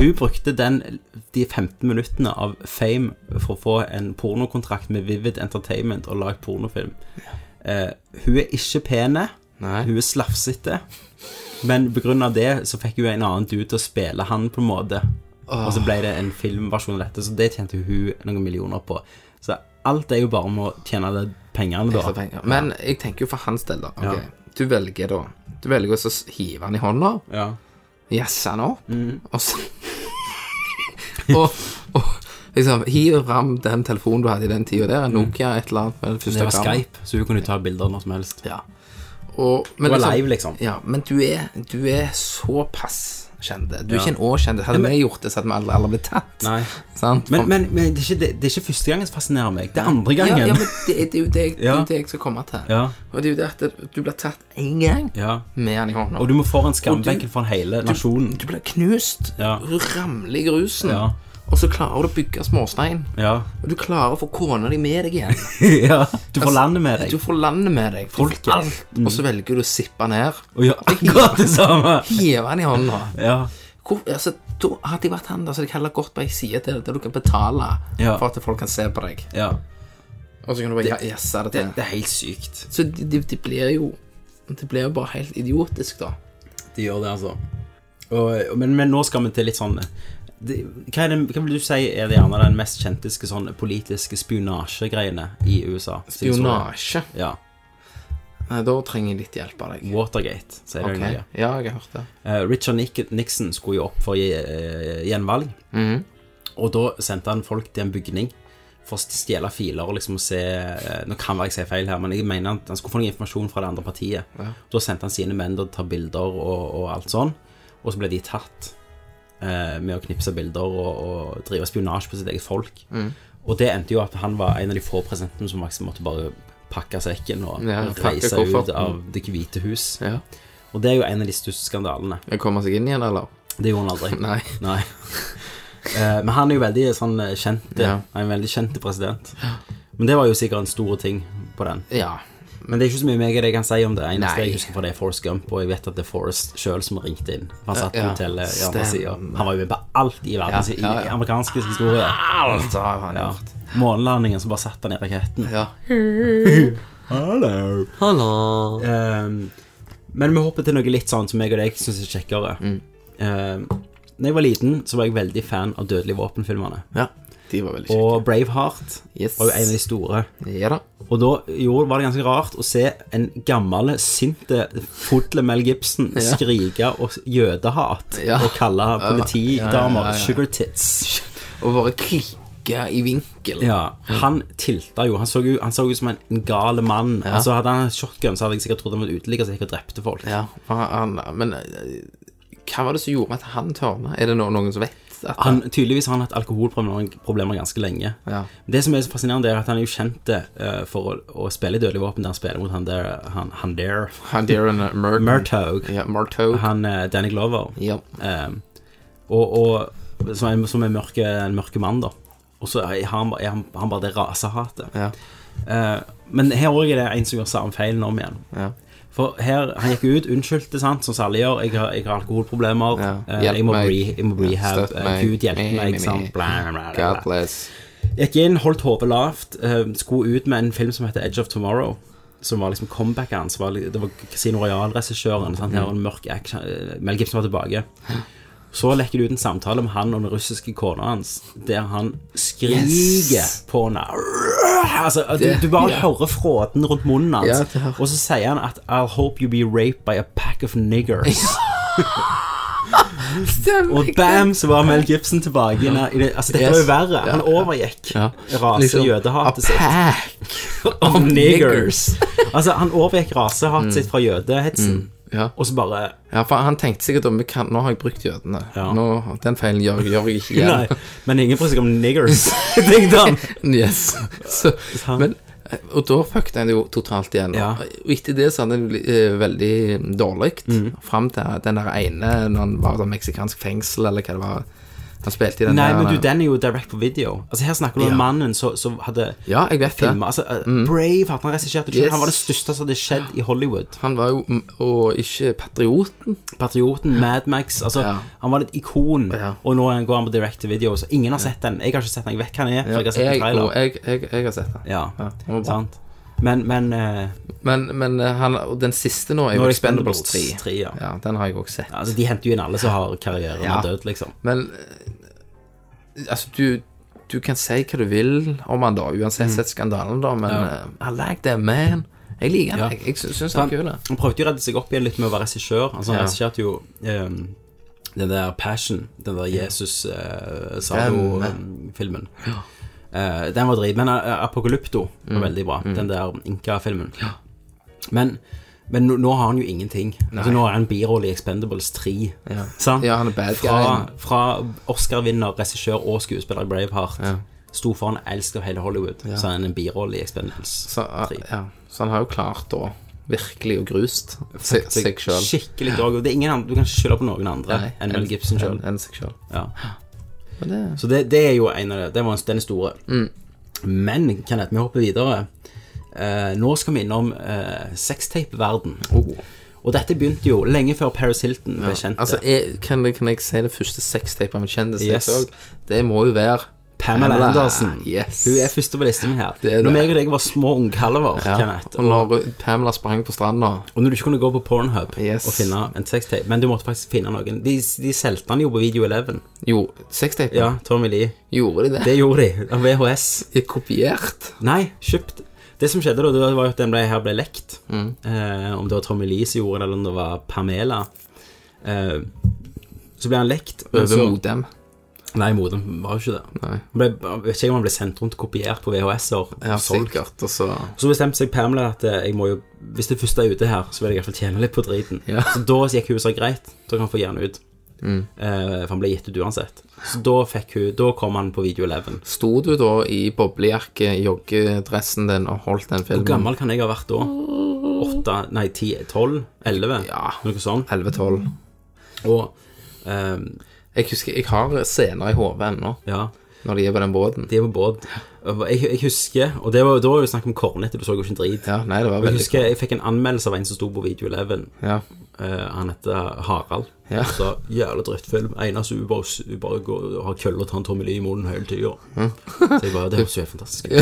Hun brukte den, de 15 minuttene av fame for å få en pornokontrakt med Vivid Entertainment og lage pornofilm. Eh, hun er ikke pene, Nei. hun er slafsete, men pga. det så fikk hun en annen dude til å spille han på en måte. Og så ble det en filmversjon av dette, så det tjente hun noen millioner på. Så alt er jo bare med å tjene det pengene, Ekstra da. penger. Men jeg tenker jo for hans del, da. Ok, Du velger da Du velger også å hive han i hånda, Ja. jazze han opp, Mm. og så og, og liksom hiver fram den telefonen du hadde i den tida der, en Nokia et eller annet med det første Mm. Det var kamera. Skype, så hun kunne ta bilder når som helst. Ja. Og, men, Hun var live, liksom. Ja, men du er, du er såpass kjente. Du er ikke en å-kjente. Hadde vi gjort det, så hadde vi aldri, aldri blitt tatt. Nei. Sant? Men, men, men det, er ikke, det, det er ikke første gangen som fascinerer meg. Det er andre gangen. Ja, ja, men det, er- det er jo det, jeg- det, er Ja. jo det jeg skal komme til. Ja. Og det er jo det at du blir tatt én gang Ja. med han i hånda. Og du må foran skambenken for hele nasjonen. Du blir knust. Ja. Du ramler i grusen. Ja. Og så klarer du å bygge småstein. Ja. Og du klarer å få kona di med deg igjen. ja. Du får landet med Altså, deg. Du får landet med deg. Du Folket. får alt. Og så velger du å sippe ned. Og gjør akkurat det samme. Hive han i hånda. Ja. Hvor, altså, da hadde jeg vært han, da, så hadde jeg heller gått på ei side til der du kan betale Ja. for at folk kan se på deg. ja. Og så kan du bare jazze det til. er helt sykt. Så det de, de blir jo Det blir jo bare helt idiotisk, da. De gjør det, altså. Og, og- men, men nå skal vi til litt sånn det, hva, er det, hva vil du si er det gjerne den mest kjentiske sånn politiske spionasjegreiene i USA? sin historie? Spionasje. Ja. Nei, da trenger jeg litt hjelp av deg. Watergate, sier det Ok. noe. Ja, jeg har hørt det. Eh, Richard Nik- Nixon skulle jo opp for eh, gjenvalg. Mhm, Og da sendte han folk til en bygning for å stjele filer og liksom se eh, Nå kan være jeg sier feil her, men jeg mener han, han skulle få noe informasjon fra det andre partiet. Da sendte han sine menn til å ta bilder og, og alt sånn, og så ble de tatt eh, med å knipse bilder og, og drive spionasje på sitt eget folk. mhm. Og det endte jo at han var en av de få presidentene som faktisk måtte bare pakke sekken og Ja, pakke reise ut kofferten. av Det hvite hus. Ja. Og det er jo en av de største skandalene. Jeg kommer seg inn igjen, eller? Det gjorde han aldri. Nei. Nei. Eh, Men han er jo veldig sånn eh, kjent eh, Ja. Han er en veldig kjent president. Men det var jo sikkert en stor ting på den. Ja. Men det er ikke så mye meg det jeg kan si om det. Eneste Nei. jeg husker fra det er Forrest Gump, og jeg vet at det er Forrest sjøl som ringte inn. Han satt på Ja. hotellet i andre sida. Stemmer. Han var jo med på alt i verden Ja, ja, ja. i amerikansk historie. Alt har han Ja. gjort. Månelandingen, så bare satt han i raketten. Ja. Hallo. Ehm, men vi hopper til noe litt sånn som jeg og deg syns er Ehm, kjekkere. Mm. da jeg var liten, så var jeg veldig fan av Dødelige våpenfilmerne. Ja. De var veldig kjekke. Og Braveheart Yes. var jo en av de store. Ja da. Og da gjorde, var det ganske rart å se en gammel, sinte fodle Mel Gibson skrike og jødehat Ja. og kalle politidamer ja, ja, ja. sugar tits. Og bare klikke i vinkel. Ja, han tilta jo. Han så, jo, han så ut som en, en gal mann. Altså Hadde han en shotgun, så hadde jeg sikkert trodd han var uteligger som gikk og drepte folk. Ja, for han, han- men eh, hva var det som gjorde at han tørna? Er det no noen som vet? At Han, tydeligvis har han hatt alkoholproblemer problemer ganske lenge. Ja. Det som er så fascinerende, er at han er jo kjent eh, for å, å spille i Dødelig våpen der han spiller mot han der, han, han der han Darren Murton? Murtaugh. Ja, Murtaugh. Han eh, Danny Glover. Ja. Ehm, og, og som er, som er mørke, en mørke mann, da. Og så er han, er han, han bare det rasehatet. Ja. Eh, men her òg er det en som gjør samme feilen om igjen. Ja. For her, Han gikk ut, unnskyldte, sant, som alle gjør. Jeg har, jeg har alkoholproblemer. Ja. eh, Hjelp jeg, må meg. re, jeg må rehab. Støtt eh, meg. Gud hjelpe Me, me, meg. me. sant, bla, bla, bla, bla. God bless. Gikk inn, holdt hodet lavt, eh, skulle ut med en film som heter Edge of Tomorrow. Som var liksom comebacken hans. var li- Det var Casino Royal-regissøren. sant, Her var en mørk action. eh, Mel Gibson var tilbake. Så lekker det ut en samtale med han og den russiske kona hans, der han skriker Yes. på henne. Altså, at du, du bare hører fråten rundt munnen hans, Ja, det hører- og så sier han at I'll hope you be raped by a pack of niggers. Og bam, så var Mel Gibson tilbake. i den- i det, altså, dette var jo Yes. verre. Han Ja. overgikk Ja. rase- Liksom, jødehatet a sitt. Of niggers. altså, han overgikk Mm. rasehatet sitt fra jødehetsen, Ja. og så bare ja, for han tenkte sikkert om vi kan, Nå har jeg brukt jødene. Ja. Nå, den feilen gjør, gjør jeg ikke Nei, igjen. men ingen bryr seg om niggers, tenkte han. Yes. Så, men, og da fucket han det jo totalt igjen. Ja. Og etter det så hadde han det eh, veldig dårlig. Mm. Fram til den der ene når han var i sånn meksikansk fengsel, eller hva det var. Han spilte i den Nei, der men du, den er jo direct på video. Altså, her snakker du om Ja. mannen som som hadde Ja, jeg vet det. filmet, altså, eh, Brave at han regisserte selv. Yes. Han var det største som hadde skjedd i Hollywood. Han var jo mm, Og ikke patrioten. Patrioten, Mad Max, altså, Ja. han var et ikon. Ja. Og nå går han på direct to video, så ingen har sett den. Jeg har ikke sett den, jeg vet hva den er, for jeg har sett jeg, en trailer. og jeg, jeg, jeg har sett det. Ja, det var bra. sant. Men, men eh, Men, men eh, han, og den siste nå er Nå jo er det Expendables 3. Expendables 3, ja. Den har jeg også sett. altså, de henter jo inn alle som har karrieren Ja. og død, liksom. Men eh, altså, du, du kan si hva du vil om han da, uansett Mm. sett skandalen, da, men eh, I like that man. Jeg liker han. Ja. Jeg, jeg sy- syns Han, han er kul. da. han prøvde jo å redde seg opp igjen litt med å være regissør. Altså, han Ja. regisserte jo ehm, den der Passion, den der eh, Jesus-Sado-filmen. den var drit. Men eh, Apocalypto var Mm. veldig bra, den der Inka-filmen. Men, men nå, nå har han jo ingenting. Altså, nå er han birolle i Expendables 3. Sant? Ja, han er bad fra, guyen. fra Oscar-vinner, regissør og skuespiller i Braveheart. Sto foran elsker hele Hollywood, så er han en birolle i Expendables Så, eh, 3. ja. så han har jo klart da virkelig og grust se, seg sjøl. Skikkelig dårlig. Og det er ingen andre, du kan ikke skylde på noen andre enn Mel Gibson sjøl. Enn seg sjøl. Ja. Men det Så det, det er jo en av det. det var den store. Mm. Men Kenneth, vi hopper videre. Eh, nå skal vi innom uh, sextape-verden. oh. Og dette begynte jo lenge før Paris Hilton ble kjent. Altså, jeg, kan, jeg- kan jeg si det første sextape av en kjendis? jeg Yes. så? Det må jo være Pamela Andersen. Yes. Hun er første på listen min her. Det er Når det. meg og deg var små ungkalver, ja. Kenneth, Og når Pamela sprang på stranda og når du ikke kunne gå på Pornhub Yes. og finne en sextape, men du måtte faktisk finne noen De, de solgte den jo på Video 11. Jo, sextape? Ja, Tommy Lee. Gjorde de det? Det gjorde de. Av VHS. Det er kopiert. Nei, kjøpt. Det som skjedde da, det var jo at den ble, her ble lekt. Mm. Eh, om det var Tommy Lee som gjorde det, eller om det var Pamela. Eh, så ble han lekt. men Over så- modem. Nei, modem var jo ikke det. Nei. Han ble, jeg vet ikke om han ble sendt rundt kopiert på VHS-er. Ja, solgt. sikkert. Og så så bestemte seg Pamela at eh, jeg må jo, hvis det første er ute her, så vil jeg i hvert fall tjene litt på driten. Ja. Mm. Så da gikk hun og sa greit, da kan han få gjerne ut. Eh, for han ble gitt ut uansett. Så da fikk hun, da kom han på Video 11. sto du da i boblejakke, joggedressen din og holdt den Hvor filmen. gammel kan jeg ha vært da? 8, nei 10, 12, 11? Ja. Noe sånt. 11-12. Og ehm, Jeg husker, jeg har scener i hodet ennå, ja, når de er på den båten. de er på båt. Jeg, jeg husker, og det var, da var jo snakk om kornete, du så jo ikke en drit. Ja, nei, det var Og jeg veldig husker jeg fikk en anmeldelse av en som sto på Video 11. Ja. Eh, han heter Harald. Ja. Så jævla drittfilm. Eneste hun bare, hun bare går, har køller til han Tommy Lee i munnen hele tida. Mm. Så jeg bare Det høres jo helt fantastisk ut.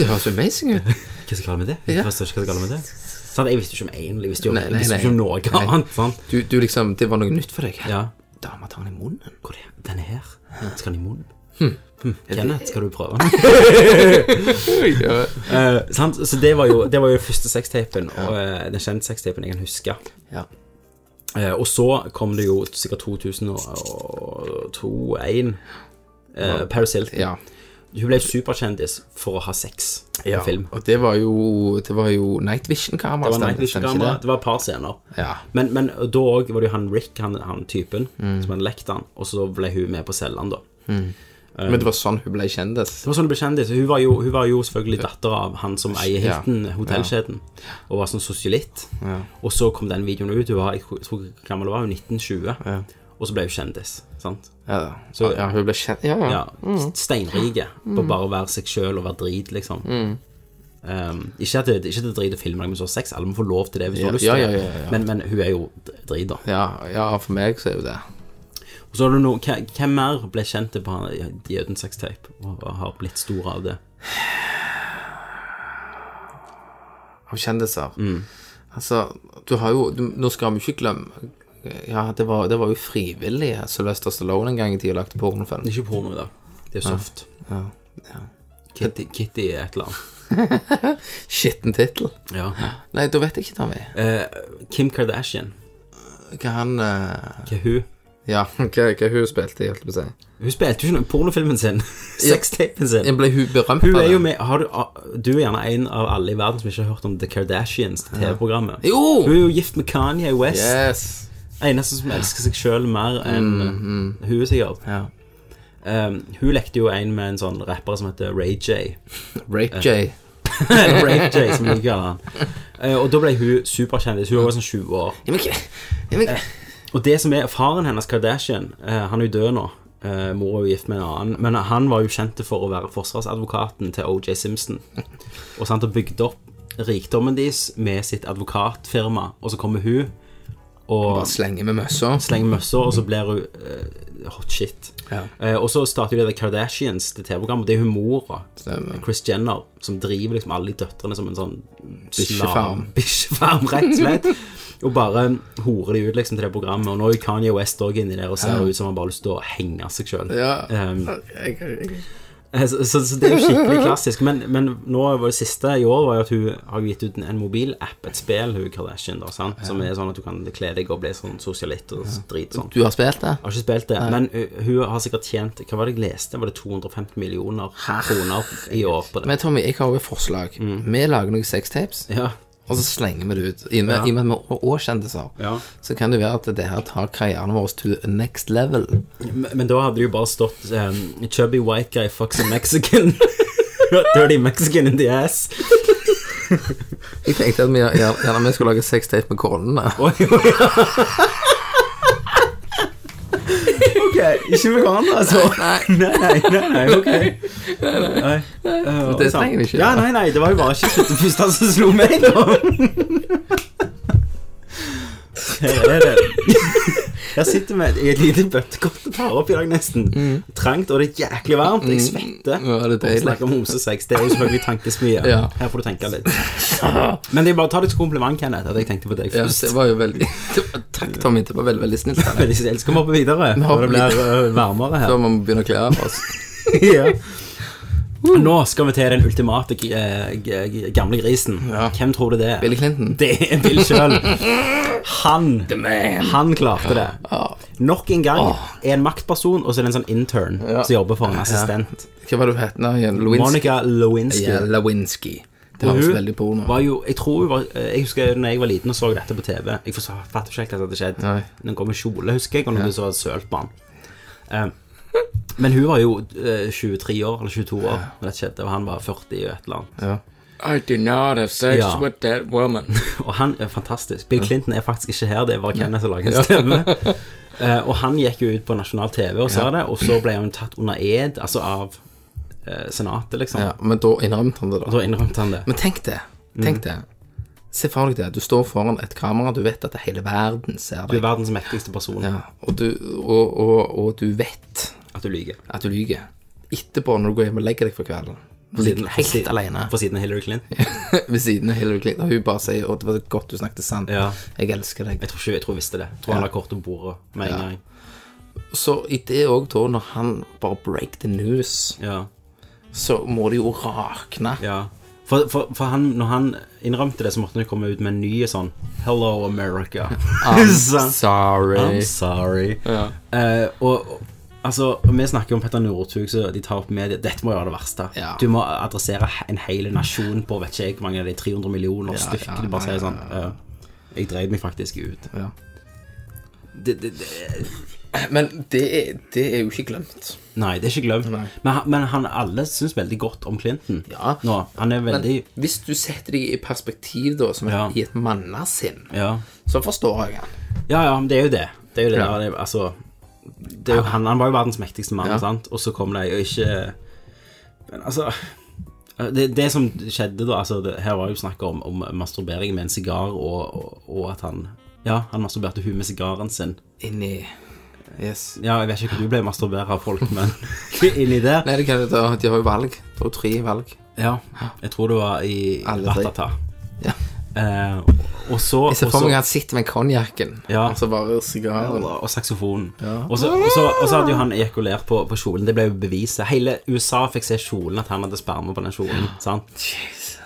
Det høres amazing ut. Hva skal jeg kalle med det? Jeg forstår ikke hva jeg skal kalle med det. Sant? jeg visste jo ikke om én, jeg visste jo om- Nei, jeg nei, visste jo nei. ikke om noe Nei. annet. Sant? Du, du liksom, det var noe nytt for deg. Ja. Dama tar den i munnen. Hvor Hm. er den her? Skal den i munnen? Kenneth, skal du prøve den? Ja. Eh, sant? Så det var jo, det var jo første sextapen, og eh, den kjente sextapen jeg kan huske. Ja. Eh, og så kom det jo sikkert 2002-1 eh, Paris Hilton. ja. Hun ble superkjendis for å ha sex på film. Og det var jo, det var jo Night Vision-kamera. Det var stemmer- Night Vision stemmer ikke kamera, det? det var et par scener. Ja. Men, men da òg var det jo han Rick, han, han typen, som hadde lekt han, og så ble hun med på cellen, da. Um, Men det var sånn hun ble kjendis. Det var sånn det ble kjendis. Hun var jo, hun var jo selvfølgelig datter av han som eier Ja. Hilton, hotellkjeden, og var sånn sosialitt. Og så kom den videoen ut. Hun var, jeg tror hvor gammel var hun? 1920. Og så ble hun kjendis. sant? Ja, da. ja hun ble kjent Ja, ja. Mm. Ja, Steinrike på bare å være seg sjøl og være drit, liksom. Mm. Um, ikke at det ikke at det er drit å filme noen som har sex, alle må få lov til det hvis du Ja, har lyst ja, til det. ja, ja, ja. Men, men hun er jo drit, da. ja. ja, for meg så er jo det. Og så har du noe, hva- Hvem mer ble kjent på han i Jødens sextape og og har blitt store av det? av kjendiser. Mm. Altså, du har jo du, Nå skal vi ikke glemme Ja, det var, det var jo frivillige Sylvester Stallone en gang i tida lagde pornofilm. Det er ikke porno, da. Det er soft. Ja. Kitty, Kitty er et eller annet. Skitten tittel. Ja. Nei, da vet jeg ikke, Tommy. Eh, Kim Kardashian. Hva han eh, Hva er hun? Ja, hva, hva hun spilte i, holdt jeg på å si. Hun spilte jo ikke noe i pornofilmen sin. Sextapen sin. Ble hun berømt Hun er jo den? med har du, ah, du er gjerne en av alle i verden som ikke har hørt om The Kardashians, det TV-programmet. Jo! Hun er jo gift med Kanye West. Yes. Mm-hmm. Eneste som elsker seg sjøl mer enn Mm. eh, hun, sikkert. Ja. Um, hun lekte jo en med en sånn rapper som heter Ray J. Rape J. Eller Ray J, som jeg kaller han. Eh, og da ble hun superkjendis. Hun var sånn 20 år. Ja, men hva ja, men, Og det som er faren hennes, Kardashian, eh, han er jo død nå. Eh, mor er jo gift med en annen. Men han var jo kjent for å være forsvarsadvokaten til OJ Simpson. Og sant, og bygde opp rikdommen deres med sitt advokatfirma. Og så kommer hun og Bare slenge med møssa. slenger møssa, og så blir hun eh, hot shit. Ja. Eh, og så starter jo det der Kardashians, det TV-programmet. Det er hun mora, Stemmer. Chris Jenner, som driver liksom alle de døtrene som en sånn slam- Bikkjefarm. Bikkjefarm, rett og slett. Og bare horer de ut liksom til det programmet. Og nå er Kanye West òg inni der og ser ut som han bare har lyst til å henge seg sjøl. Ja. Um, Jeg- jeg- jeg- så, så, så det er jo skikkelig klassisk. Men, men nå var det siste i år var jo at hun har gitt ut en, en mobilapp, et spill, hun Kardashian, da, sant? som er sånn at du kan kle deg og bli sånn sosialitt og drit sånn. Du har spilt det? Jeg har ikke spilt det, men hun, hun har sikkert tjent Hva var det jeg leste? Var det 250 millioner kroner i år på det? Men Tommy, jeg har jo et forslag. Vi lager noen sextapes. Ja. Og så slenger vi det ut. I og med, i og med at vi er også kjendiser, Ja. så kan det være at det her tar karrieren vår to the next level. Men, men da hadde det jo bare stått ehm, Chubby white guy fucks a Mexican. Dirty Mexican in the ass. Jeg tenkte at vi gjerne, gjerne vi skulle lage sextape med konene. Oi, oi, ja. ok, ikke med hverandre, altså. Nei, nei, nei, nei ok. Nei, Eh, det sant. trenger vi ikke. Ja, nei, nei, det var jo bare ikke slutt- det første som slo meg, da. Her er det. Her sitter vi i et lite bøttekott og tar opp i dag, nesten. Trangt, og det er jæklig varmt. Jeg svetter. Mm. Ja, det er Bare deilig. snakke om hosesex. Det er jo selvfølgelig tankes mye. Ja. Her får du tenke litt. Men det er bare å ta det som kompliment, Kenneth, at jeg tenkte på deg Ja, først. det var jo veldig det var, Takk, Tommy. Det var veldig veldig snilt. av deg. Veldig snill. Skal vi hoppe videre? Når det hopper blir øh, varmere her. Da må vi begynne å kle av oss. ja. Nå skal vi til den ultimate g eh, g g gamle grisen. Hvem tror du det er? Billy Clinton. Det er Bill sjøl. Han, han klarte det. Nok en gang er en maktperson, og så er det en sånn intern som jobber for en assistent. Hva var det hun het nå igjen? Lewinsky? Monica Lewinsky. Ja, Lewinsky. Det Og høres hun veldig porno var jo, jeg tror hun var eh, Jeg husker når jeg var liten og så dette på TV. Jeg forstår- fatter ikke helt hva som hadde skjedd. Nei. Den kom i kjole, husker jeg, og noen som hadde sølt på den. Eh, men hun var jo eh, 23 år, eller 22 år, når det skjedde, og han var 40 og et eller annet. I do not have sex Yeah. with that woman. Og han er fantastisk. Bill Clinton er faktisk ikke her, det er bare Kenneth som lager en stemme. Eh, og han gikk jo ut på nasjonal TV og sa det, og så ble han tatt under ed, altså av eh, Senatet, liksom. Ja, men da innrømte han det, Og da. da innrømte han det. Men tenk det. Tenk det. Se for deg det. Du står foran et kamera, du vet at hele verden ser Du er deg. verdens mektigste person. Ja, og, du, og, og, og du vet At du lyver. at du lyver. Etterpå, når du går hjem og legger deg for kvelden, ligger du helt alene På siden av Hillary Clinton. ved siden av Hillary Clinton, og hun bare sier 'Å, det var godt du snakket sant'. Ja. Jeg elsker deg. Jeg tror ikke jeg tror jeg visste det. Jeg tror han la kortet på bordet med en gang. Så i det òg, da, når han bare break the news, Ja. så må det jo rakne. ja. For, for, for han, når han innrømte det, så måtte han jo komme ut med en ny sånn Hello, America. Sånn. I'm Sorry. sorry. Ja. Eh, og og- altså, og vi snakker om Petter Northug, så de tar opp medier. Dette må jo være det verste. Ja. Du må adressere he- en hel nasjon på vet ikke jeg hvor mange av de 300 millioner stykker. ja, du bare ja, sier sånn eh, Jeg drev meg faktisk ut. Ja. Det, det, det, Men det er, det er jo ikke glemt. nei, det er ikke glemt. Nei. Men, han- men han alle syns veldig godt om Clinton Ja. nå. Han er Men veldig hvis du setter deg i perspektiv, da, som et, Ja. i et mannasinn, ja. så forstår jeg han. ja, ja, men det er jo det. Det er jo det. Ja. Ja. det er- altså, det er jo, han, han var jo verdens mektigste mann, sant? og så kom de og ikke Men altså det, det som skjedde da altså, det, Her var jo snakk om, om masturbering med en sigar, og, og, og at han Ja, han masturberte hun med sigaren sin. Inni Yes. Ja, jeg vet ikke hva du ble masturbert av folk, men inni der Nei, det kan, da, de har jo valg. Det er jo tre valg. Ja, jeg tror det var i Alle tre. Ratata. Ja. Eh, og så Jeg ser og for så- meg han sitter med konjakken, Ja. og så bare sigaren. og saksofonen. Og, så, og, så, og så hadde jo han ejakulert på, på kjolen. Det ble jo beviset. Hele USA fikk se kjolen, at han hadde sperma på den kjolen. Sant?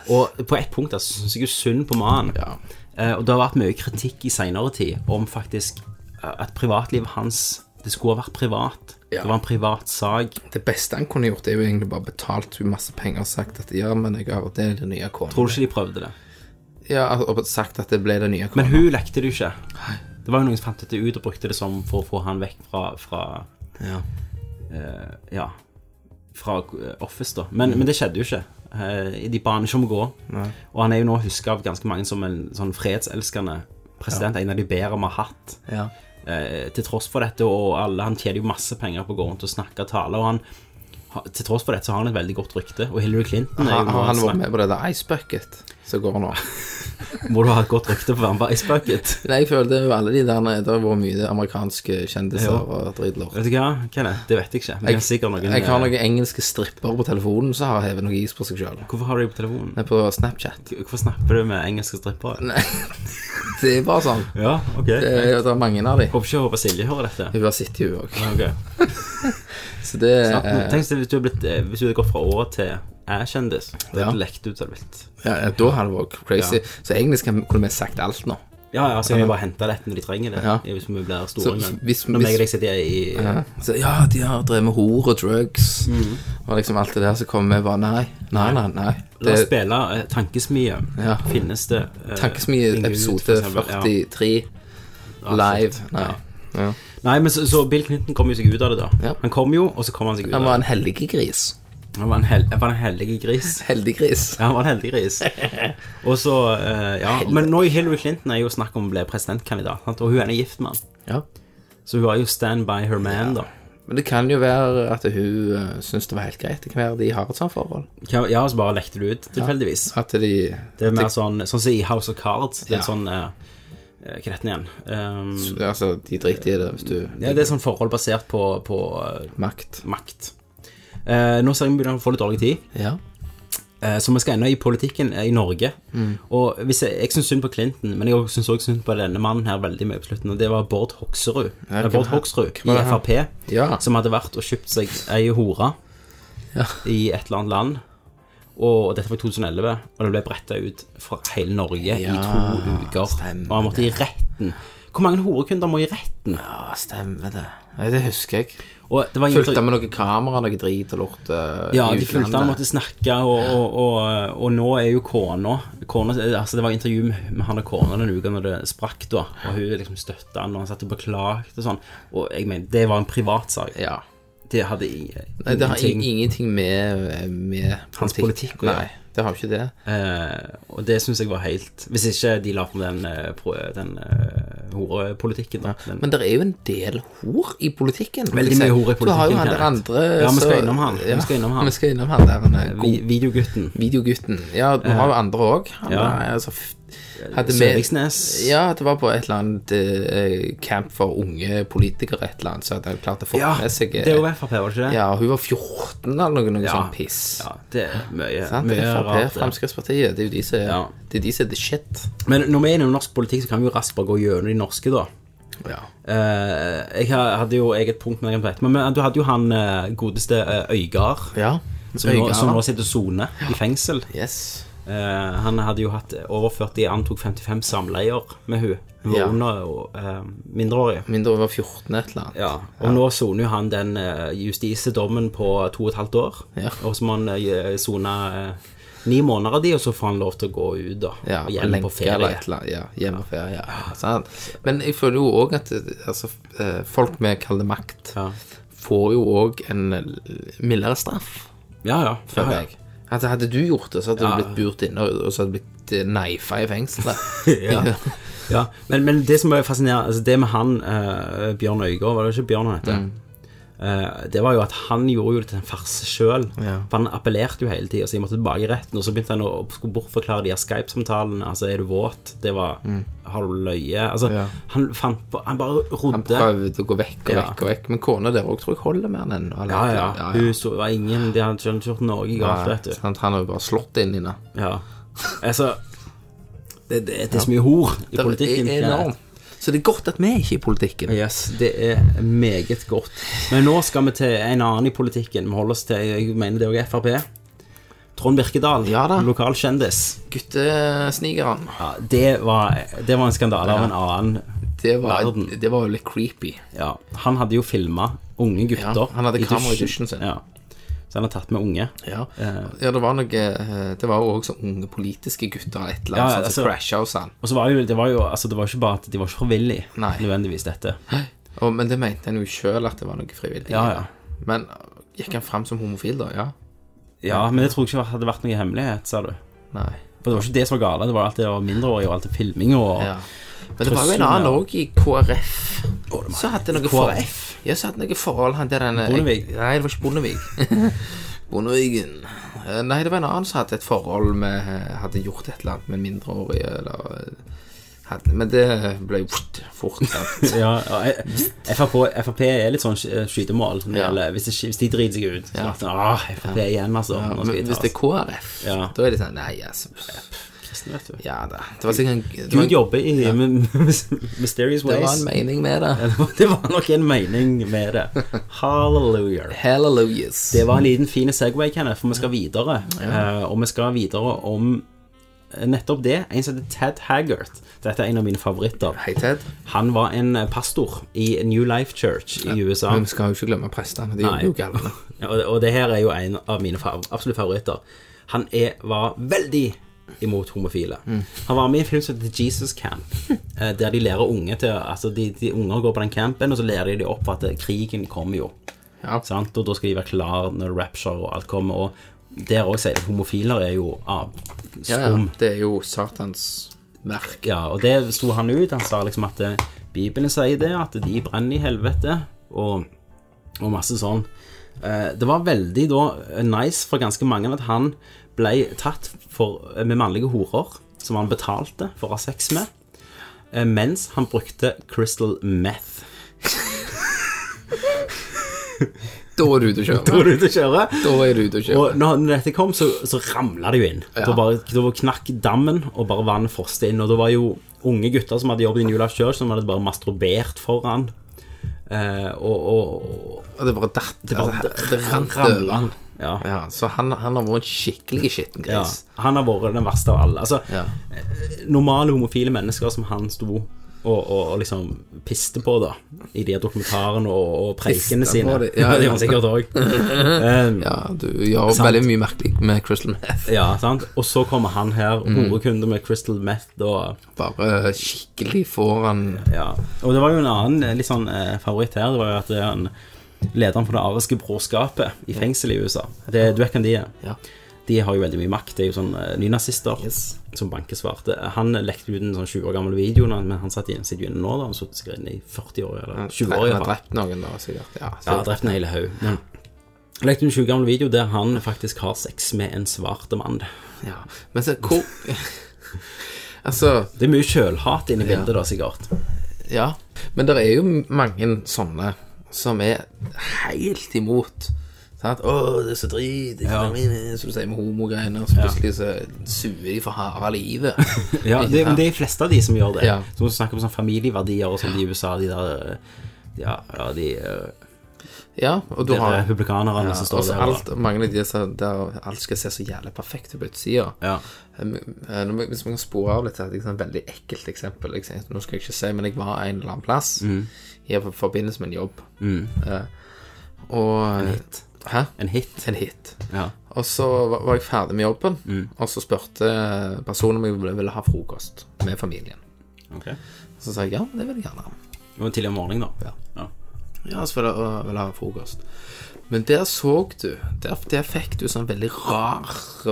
Og på et punkt der så syns jeg jo synd på mannen. Ja. Eh, og det har vært mye kritikk i seinere tid om faktisk eh, at privatlivet hans Det skulle ha vært privat. Ja. Det var en privat sak. Det beste han kunne gjort, er jo egentlig bare betalt henne masse penger og sagt at ja, men jeg har det er det nye kona. Tror du ikke de prøvde det? Ja, altså, og sagt at det ble det nye Men kona. hun lekte det jo ikke. Det var jo noen som fant dette ut og brukte det som for å få han vekk fra, fra Ja. eh, ja, fra eh, Office, da. Men, men det skjedde jo ikke. Eh, de ba han ikke om å gå. Og han er jo nå huska av ganske mange som en sånn fredselskende president. En av de bedre vi har hatt. Ja. Eh, til tross for dette, og alle Han tjener jo masse penger på å gå rundt og snakke og tale, og han ha- til tross for dette så har han et veldig godt rykte, og Hillary Clinton er jo Har nå har han en vært snakk- med på det der Ice Bucket som går nå? Må du ha et godt rykte for å være med på Ice Bucket? Nei, jeg følte jo alle de der nede, Det har vært mye amerikanske kjendiser og dritlort. Vet du hva, Kenneth? Det vet jeg ikke. Men jeg, har sikkert noen Jeg har noen engelske stripper på telefonen som har hevet noe is på seg sjøl. Hvorfor har du det på telefonen? På Snapchat. Hvorfor snapper du med engelske strippere? Nei, det er bare sånn. Ja, ok. Det er, det er mange av de. Håper ikke håper Silje hører dette. Hun har sittet, hun òg. Ok. Så det Ja, eh, Tenk hvis du hadde blitt, eh, hvis du hadde gått fra Å til æ-kjendis. Det Ja. hadde lekt ut av litt. ja, Da hadde det vært crazy. Så egentlig skal, kunne vi sagt alt nå. Ja, ja, så kan vi bare hente dette når de trenger det. Ja. Hvis vi blir Så store en gang. hvis- Når meg hvis- og deg sitter i Så ja, de har drevet med hor og drugs Mm. og liksom alt det der, så kommer vi bare nei, nei, nei. nei. La oss Det spille eh, Tankesmie. Ja. Finnes det eh, takkes mye Ring Gud, for episode eksempel. Ja. 43 live. Nei. Ja. Nei, men så, så Bill Clinton kom jo seg ut av det, da. Ja. Han kom jo, og så kom han seg ut Han av var det. en heldiggris. Han var en, hel, han var en heldig gris. Heldiggris. Ja, han var en heldig gris. Og så, eh, ja, Men nå i Hillary Clinton er jo snakk om å bli presidentkandidat, sant? og hun er gift med han. Ja. Så hun var jo stand by her man, da. Men det kan jo være at hun uh, syns det var helt greit. Det kan være de har et sånt forhold. Hva- Ja, og så bare lekte du ut, tilfeldigvis. At de Det er mer sånn sånn som i House of Cards. Det er Ja. sånn eh, eh, Hva heter den igjen? Um, Altså, de driter i det hvis du ja, det er sånn forhold basert på, på eh, Makt. makt. Eh, nå ser jeg vi begynner å få litt dårlig tid. Ja. Eh, Så vi skal ennå i politikken eh, i Norge. Mm. Og hvis jeg, jeg syns synd på Clinton, men jeg syns også synd på denne mannen her veldig mye på slutten. Og det var Bård Hoksrud Ja, eh, hvem Bård er- Hoksrud hvem i er han? Frp, Ja. som hadde vært og kjøpt seg ei hore Ja. i et eller annet land. Og dette var i 2011, og det ble bretta ut fra hele Norge i to uker. stemmer Og han måtte i retten. Hvor mange horekunder må i retten? ja, stemmer det. Nei, det husker jeg. Og det var Fulgte han med noe kamera, noe drit og lort? eh, Ja, i de fulgte han utlandet? måtte snakke, og, og, og, og nå er jo kona Kona, altså Det var intervju med med han og kona den uka når det sprakk, da. Og hun liksom støtta han, og han satt og beklagte og sånn. Og jeg mener, det var en privatsak. Ja. Det hadde i- Nei, det har ingenting ingenting med, med Hans politikk å gjøre. Nei, det har jo ikke det. eh, Og det syns jeg var helt Hvis ikke de la på den, eh, pro- den eh, horepolitikken, da. Den, Men det er jo en del hor i politikken. vil Veldig jeg si. mye hor i Du har jo politikken, han der Kenneth. andre Ja, vi skal så- innom han. Vi Ja, skal innom han. Vi skal innom han der han er vi, god. videogutten. Videogutten. Ja, du har jo andre òg. Ja. Altså, f- hadde med- Søviksnes. Ja, det var på et eller annet eh, camp for unge politikere, et eller annet, så hadde han klart å få Ja, med seg eh, det er jo Frp, var det ikke det? Ja, hun var 14 eller noe, noe sånn piss. Ja, det er mye, Sant? mye Frp, rart. ja. Fremskrittspartiet, det er jo de som er, Ja. det er de som er the shit. Men når vi er inne i norsk politikk, så kan vi jo raskt bare gå gjennom de norske, da. Ja. Eh, jeg ha- hadde jo eget punkt med deg om dette, men- men du hadde jo han eh, godeste eh, Øygard, ja. som, nå- Øygard. som nå sitter og soner i fengsel. Yes. Eh, han hadde jo hatt overført de antok 55 samleier med hun. Hun var Ja. under og, eh, mindreårig. Mindre over 14 et eller annet. Ja, og nå soner jo han den uh, justisedommen på to og et halvt år. Ja. Og så må han eh, sone eh, ni måneder av de, og så får han lov til å gå ut da, Ja, og hjem på lenke ferie. Ah. eller et eller annet. Ja, hjem på ferie. Ja. Sant? Men jeg føler jo òg at altså, eh, folk med kalde makt Ja. får jo òg en eh, mildere straff, Ja, ja, føler ja, jeg. At hadde du gjort det, så hadde Ja. du blitt burt inne, og og så hadde du blitt eh, neifa i fengselet. Ja. ja. Men, men det som er fascinerende, altså det med han eh, Bjørn Øygård, var det ikke Bjørn han heter? Mm. Eh, det var jo at han gjorde jo det til en farse sjøl. Ja. For han appellerte jo hele tida, så jeg måtte tilbake i retten. Og så begynte han å å skulle bortforklare de her Skype-samtalene. Altså, er du våt? Det var Har du løyet? Altså, Mm. Ja. han fant på Han bare Han rodde. prøvde å gå vekk og Ja. vekk og vekk, men kona der òg tror jeg holder med han ennå. eller? Ja, ja. Hun så, var ingen De hadde ikke gjort noe galt, Nei, vet du. sant, han har jo bare slått inn i det. Ja. Altså Det, det, det er så mye hor i politikken. Det er e- enormt. Så det er godt at vi ikke er i politikken. Yes, det er meget godt. Men nå skal vi til en annen i politikken. Vi holder oss til jeg mener det er også Frp. Trond Birkedal, Ja da. lokal kjendis. Guttesnikeren. Ja, det, var, det var en skandale av en annen. Det var, Verden. det var jo litt creepy. Ja, han hadde jo filma unge gutter. Ja, han hadde kamera i dusjen. dusjen sin. Ja. Så han har tatt med unge. Ja, ja det var noe eh, Det var jo også unge politiske gutter eller et eller Ja, annet ja, sånt som altså- crasha hos han. Og så var det jo, det var jo altså, det var jo ikke bare at de var ikke frivillige, Nei. nødvendigvis, dette. Og, men det mente han jo sjøl at det var noe frivillig. Ja, ja. Men eh, gikk han fram som homofil, da? Ja? Ja, Men jeg tror ikke det hadde vært noe hemmelighet, sa du. Nei. For det var ikke det som var gale, det var alt det var mindreårige og alt det filming og Ja. Men det var jo en Trøstene, annen ja. òg i KrF. Så hadde noe forhold KrF? Ja, så hadde noe forhold han til denne Bondevik? jeg- Nei, det var ikke Bondevik. Bondeviken. Eh, Nei, det var en annen som hadde et forhold med eh, Hadde gjort et eller annet med mindreårige, eller eh, hadde, Men det ble jo fort, fort sant? Ja, og jeg- FRP, FRP er litt sånn sky- skytemål. når det Ja. gjelder- Hvis, det, hvis de driter seg ut, så er det sånn ah, Frp igjen, altså. Ja, Nå men skal vi ta hvis det oss. er KrF, Ja. da er det sånn Nei, altså Kristen, vet du. Ja da. Det var sikkert en det var, Gud en- jobber i med- med Mysterious det var Ways. en mening med det. Det var nok en mening med det. Hallelujah. Hallelujahs. Det var en liten fin Segway, Kenneth, for vi skal videre. Eh, og vi skal videre om eh, nettopp det. En som heter Ted Haggart. Dette er en av mine favoritter. Hei, Ted. Han var en eh, pastor i New Life Church i USA. Men vi skal jo ikke glemme prestene. De Nei. gjorde jo galne. Ja, og, og det her er jo en av mine fav absolutte favoritter. Han er, var veldig imot homofile. Mm. Han var med i en film som heter Jesus Camp, eh, der de lærer unge til Altså, de, de unger går på den campen, og så lærer de de opp at eh, krigen kommer jo. Ja. Sant? Og da skal de være klar når rapture og alt kommer. Og der òg sier de homofiler er jo av Ja, ja. skum. Det er jo Satans verk. Ja, og det sto han ut. Han sa liksom at eh, Bibelen sier det, at de brenner i helvete, og, og masse sånn. Eh, Det var veldig da eh, nice for ganske mange at han ble tatt for, eh, med mannlige horer, som han betalte for å ha sex med, eh, mens han brukte crystal meth. Da er du ute å Var kjøre. du ute å kjøre? Da er du ute å kjøre. Og når når dette kom, så, så ramla det jo inn. Da, bare, da knakk dammen, og bare vannet froste inn. Og det var jo unge gutter som hadde jobbet i New Life Church, som hadde bare masturbert foran. Eh, og, og, og Og det bare datt. Det, bare altså, det rant ramla over. han. Ja. Ja, så han, han har vært en skikkelig skitten ja. gris. Han har vært den verste av alle. Altså, Ja. normale homofile mennesker som han sto og, og, og liksom piste på, da. I de her dokumentarene og, og preikene Piste sine. på det, ja, det ja. var sikkert Eh, òg. Ja, du gjør Sant. veldig mye merkelig med Crystal Meth. Mm. Ja, sant. Og så kommer han her, horekunde med Crystal Meth og Bare skikkelig får han Ja, og det var jo en annen eh, litt sånn eh, favoritt her. Det var jo at det er en lederen for det ariske brorskapet i fengsel i USA. Det, du vet hvem de er? Ja. De har jo veldig mye makt. Det er jo sånn eh, nynazister som banker svarte. Han lekte ut en sånn 20 år gammel video, nå, men han satt i sitt inne nå, da. Han satt sikkert inne i 40 år, eller 20 år i Han hvert har fall. drept noen, da, sikkert. Ja, Ja, så, drept en hel haug. Men lekte ut en 20 år gammel video der han faktisk har sex med en svart mann. ja. Men så hvor Altså, Det er mye sjølhat inne i bildet, da, sikkert. ja. Men det er jo mange sånne som er helt imot Sant? 'Å, det er så drit', ikke sant? som du sier med homogreiene. og Så plutselig så suger de for harde livet. Ja, det, men det er de fleste av de som gjør det. Ja. Som snakker om sånn familieverdier og sånn de i USA, de der eh, Ja, ja de eh, ja, og du de har republikanerne ja, som står også der. og- alt, mange av de som- der alt skal se så jævlig perfekt ut på utsida. Ja. Um, eh, nå må- Hvis man kan spore av litt til et liksom, veldig ekkelt eksempel ikke sant? Nå skal jeg ikke si, men jeg var en eller annen plass Mm. i forbindelse med en jobb. Eh, og Hæ? En hit. En hit. Ja. Og så var var jeg ferdig med jobben, Mm. og så spurte personen om jeg ville- ville ha frokost med familien. Okay. Så sa jeg ja, det vil jeg gjerne. ha. Det var tidlig om morgenen, da. Ja. Ja. Ja, så vil jeg, øh, vil jeg ha frokost. Men der så du Der, der fikk du sånn veldig rar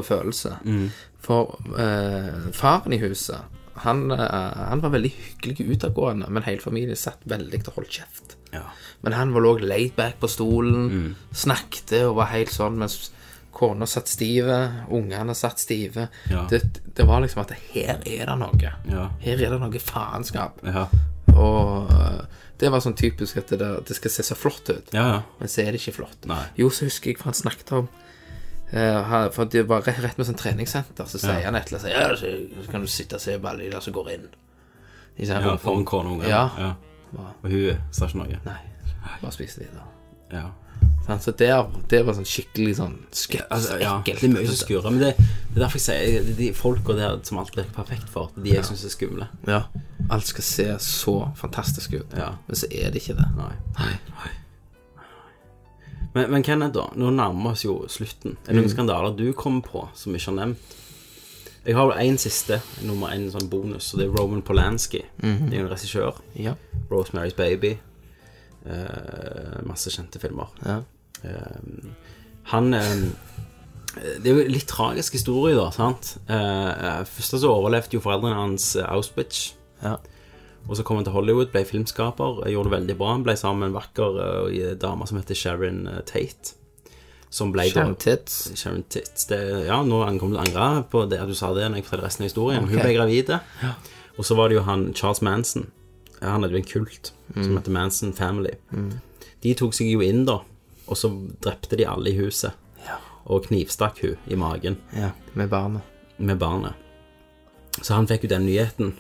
følelse. Mm. For eh, faren i huset, han, eh, han var veldig hyggelig utadgående, men hele familien satt veldig til å holde kjeft. Ja. Men han var lå laid back på stolen, Mm. snakket og var helt sånn, mens kona satt stive, ungene satt stive. Ja. Det, det var liksom at her er det noe. Ja. Her er det noe faenskap. Ja. Og eh, det var sånn typisk at det, der, det skal se så flott ut. Ja, ja. Men så er det ikke flott. Nei. Jo, så husker jeg hva han snakket om. eh, han- for det var rett, rett med sånn treningssenter, så sier han et eller annet ja, så, så kan du sitte og se på alle de der som går inn. I sånn ja Foran kona og ungene. Ja. Og hun sa ikke noe. Nei, bare spise videre. Ja. Sånn, så der, det var sånn skikkelig sånn skeptisk, Altså, ja, ekkelt. det er mye som skurrer. Men det, det er derfor jeg sier det er de folka der som alt virker perfekt for, det er de jeg syns er skumle. Ja. Alt skal se så fantastisk ut, Ja. men så er det ikke det. Nei. Men, men Kenneth, da. Nå nærmer vi oss jo slutten. Er det noen skandaler du kommer på som vi ikke har nevnt? Jeg har vel én siste, nummer én sånn bonus, og det er Roman Polanski. Det er jo en regissør. Ja. Rosemary's Baby. eh, masse kjente filmer. Ja. Eh, han eh, Det er jo en litt tragisk historie, da. sant? Eh, eh, først så overlevde jo foreldrene hans eh, Auschwitz. Ja. Og så kom han til Hollywood, ble filmskaper, eh, gjorde det veldig bra. Han ble sammen med en vakker eh, dame som heter Sharon eh, Tate. Som ble Sharon Tits. Sharon Tate. Det, ja, nå han kommer til å angre på det at du sa det når jeg forteller resten av historien. Hun ble gravid. Og så var det jo han Charles Manson. Ja, Han hadde jo en kult som Mm. heter Manson Family. De tok seg jo inn, da, og så drepte de alle i huset. Og knivstakk hun i magen Ja, med barnet. med barnet. Så han fikk jo den nyheten.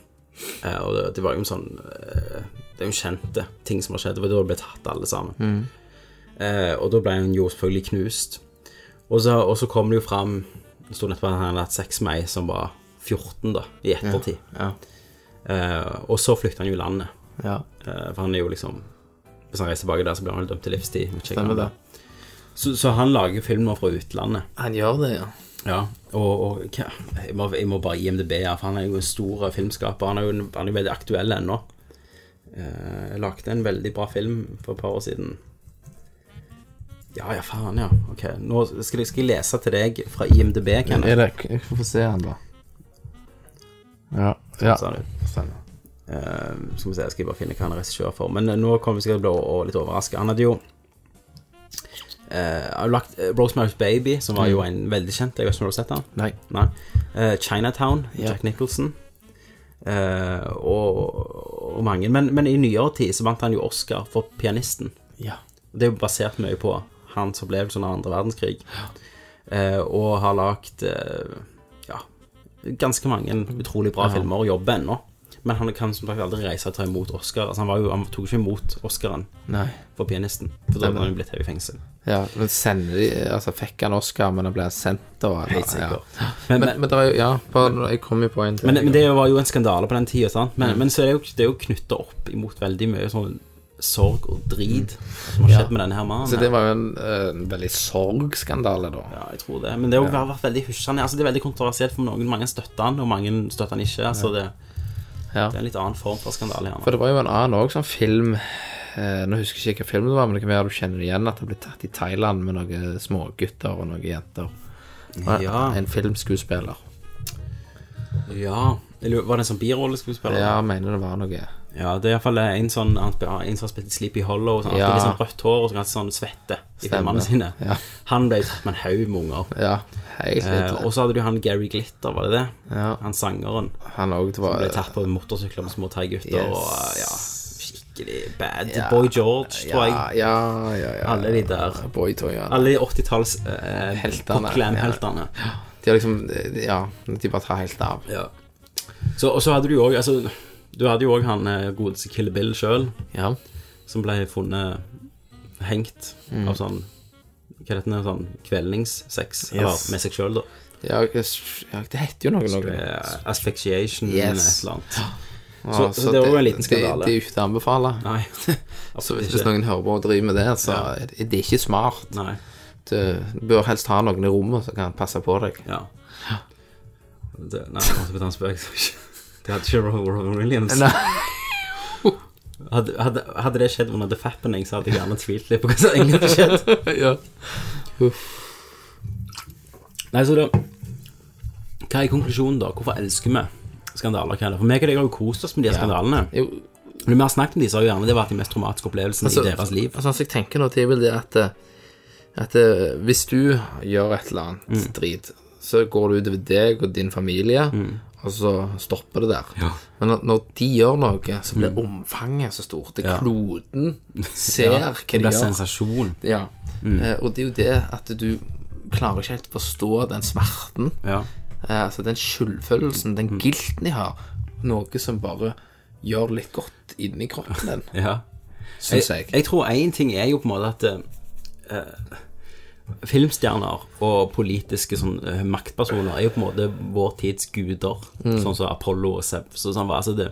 Eh, og det, det var jo en sånn eh, Det er jo kjente ting som har skjedd. Det var da det ble tatt, alle sammen. Mm. Eh, og da ble han jo selvfølgelig knust. Og så, og så kom det jo fram Det sto nettopp at han hadde hatt sex med ei som var 14, da, i ettertid. Ja. Eh, og så flykta han jo landet. Ja. Eh, for han er jo liksom Hvis han reiser tilbake der, så blir han vel dømt til livstid. vet ikke jeg Stemmer om det. Så, så han lager filmer fra utlandet. Han gjør det, ja. Ja, og, og hva- jeg, må, jeg må bare gi MDB her, for han er jo en stor filmskaper. Han er jo, en- han er jo veldig aktuell ennå. Eh, Jeg lagde en veldig bra film for et par år siden. Ja, ja, faen, ja. Ok, nå skal jeg, skal jeg lese til deg fra IMDb, Kenneth. Er det, jeg får se han da. Ja, ja. sa du. Stemmer. Eh, skal vi se, jeg skal bare finne hva han er regissør for. Men eh, nå kommer vi sikkert til å bli å- å litt overraska. Han hadde jo eh, har lagt eh, Rosemary's Baby, som var Mm. jo en veldig kjent. Jeg vet ikke om du har sett den? Nei. Nei. Eh, Chinatown, Ja. Jack Nicholson. eh, og, og mange. Men, men i nyere tid så vant han jo Oscar for pianisten. Ja. Det er jo basert mye på hans opplevelse under andre verdenskrig. Eh, og har lagd eh, ja, ganske mange utrolig bra filmer og jobber ennå. Men han kan som sagt aldri reise og ta imot Oscar. Altså, han, var jo, han tok ikke imot Oscaren Nei. for pianisten, for da hadde han jo blitt hevet i fengsel. Ja, men sender de, altså fikk han Oscar, men han ble sendt da? eller? Helt sikkert. Ja. Men- Men, men, det er jo, ja, bare, jeg kom jo på en til. Men, men det var jo en skandale på den tida, sant. Men, Mm. men så er det jo, det er jo knytta opp imot veldig mye sånn sorg og drit som har skjedd med denne her mannen. Mm. Så her. det var jo en, eh, en veldig sorgskandale da. Ja, jeg tror det. Men det har jo vært- vært veldig hysjende. Altså, det er veldig kontroversielt, for noen, mange støtter han, og mange støtter han ikke. Altså, det, Ja. det er en litt annen form for skandale. Gjerne. For det var jo en annen også, sånn film, eh, nå husker jeg ikke hvilken film det var, men det kan være du kjenner det igjen, at han ble tatt i Thailand med noen smågutter og noen jenter. Og Ja. En filmskuespiller. Ja. Eller var det en sånn birolleskuespiller? Ja, jeg mener det var noe. ja, det er iallfall en sånn han sp- En som har spilt i Sleepy Hollow, og sånn, Ja. alltid litt sånn rødt hår og sånn, alltid sånn svette i Stemmer. filmene sine. Ja. Han ble jo tatt med en haug med unger. Ja, helt Eh, riktig. og så hadde du han Gary Glitter, var det det? Ja. Han sangeren. Han òg var Ble tatt på motorsykler med små thai-gutter Yes. og ja, skikkelig bad. Boy George, tror jeg. Ja, ja, ja, ja. Alle de der. Boytoyene. Alle de 80-talls eh, Heltene, popglam-heltene. De har liksom Ja, de bare tar helt av. Ja. Så, og så hadde du jo òg altså, Du hadde jo òg han eh, godeste Kill Bill sjøl, Ja. som ble funnet hengt Mm. av sånn Hva heter det, sånn kvelningssex? Eller med seg sjøl, da. Ja, s- ja, det heter jo noe. noe. Eh, Asphyxiation Yes. eller et eller annet. Ja, så- så det var jo en liten skandale. Det, det er jo ikke til å anbefale. Nei. Så absolutt hvis, ikke. noen hører på og driver med det, så er det- det er ikke smart. Nei. Du bør helst ha noen i rommet som kan passe på deg. Ja. Det, nei, jeg måtte betale en spøk. så ikke- Det hadde ikke Ro- Robin Williams. Nei. Hadde, hadde, hadde det skjedd under The Fappening, så hadde jeg gjerne tvilt litt på hva som egentlig hadde skjedd. ja. Nei, så da Hva er konklusjonen, da? Hvorfor elsker vi skandaler? Hva er det? For meg og deg har jo kost oss med de her skandalene. Jo, Når vi har snakket om de, så har jo gjerne det vært de mest traumatiske opplevelsene altså, i deres liv. Altså, altså, jeg tenker nå, det er vel det at, eh, at eh, hvis du gjør et eller annet Mm. drit, så går det utover deg og din familie, og så stopper det der. Mm. Ja. Mm. Men når, når de gjør noe, så blir omfanget så stort. Det er Ja. kloden ser hva de det blir gjør. sensasjon. Ja. Mm. Eh, og det er jo det at du klarer ikke helt å forstå den smerten, Ja. Mm. eh, altså den skyldfølelsen, den gilten de har, noe som bare gjør litt godt inni kroppen din, ja. synes jeg. Jeg tror én ting er jo på en måte at eh, Filmstjerner og politiske sånn, eh, maktpersoner er jo på en måte vår tids guder. Mm. Sånn som Apollo og Zeus og sånn. Altså det,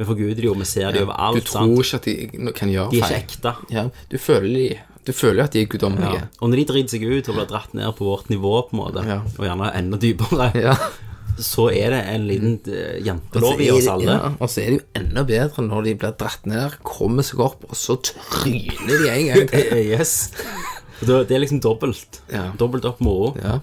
vi forguder jo, vi ser det Du overalt. tror sant? ikke at de kan gjøre De er feil. ikke ekte. Ja, du føler de Du føler at de er guddommelige. Ja. Og når de driter seg ut og blir dratt ned på vårt nivå, på en måte, Ja. og gjerne enda dypere, Ja. så er det en liten eh, Og så jantelov i er oss det- alle. Altså, Ja, og så er det jo enda bedre når de blir dratt ned, kommer seg opp, og så tryner de en gang til. Eh, eh, Yes. Og da- Det er liksom dobbelt. Ja. Dobbelt opp moro. Ja,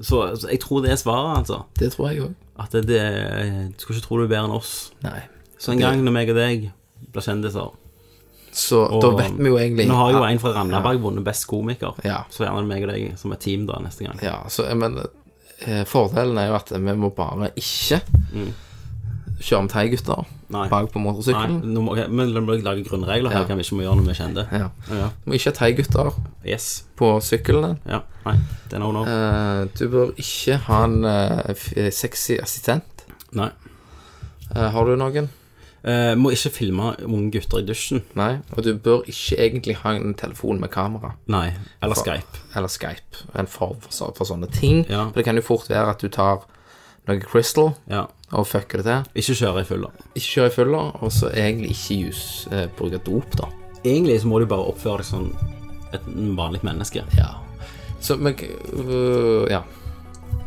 Så, så jeg tror det er svaret, altså. det tror jeg òg. At det, det, du skal ikke tro du er bedre enn oss. Nei. Så en gang når meg og deg blir kjendiser Så da og- vet vi jo egentlig Nå har jo at- en fra Randaberg vunnet Best komiker. Ja. Så gjerne meg og deg som et team da neste gang. Ja, så men eh, Fordelen er jo at vi må bare ikke kjøre med teigutter Mm. Nei. bak på Nei, motorsykkelen. nå må, ok, men la meg lage grunnregler her, Ja. hva vi ikke må gjøre når vi er kjente. Ja. Ja. Du må ikke ha teigutter Yes. på sykkelen din. Ja. Nei, det er no no. Eh, du bør ikke ha en eh, f- sexy assistent. Nei. Eh, har du noen? Eh, må ikke filme unge gutter i dusjen. Nei, og du bør ikke egentlig ha en telefon med kamera Nei. Eller Skype. eller Skype, en form for, så- for sånne ting. Ja. For det kan jo fort være at du tar noe Crystal Ja. og fucker det til. Ikke kjøre i fylla. Ikke kjører i fylla, og så egentlig ikke jus, eh, bruke dop, da. Egentlig så må du bare oppføre deg som et vanlig menneske. Ja. Så men øh, Ja.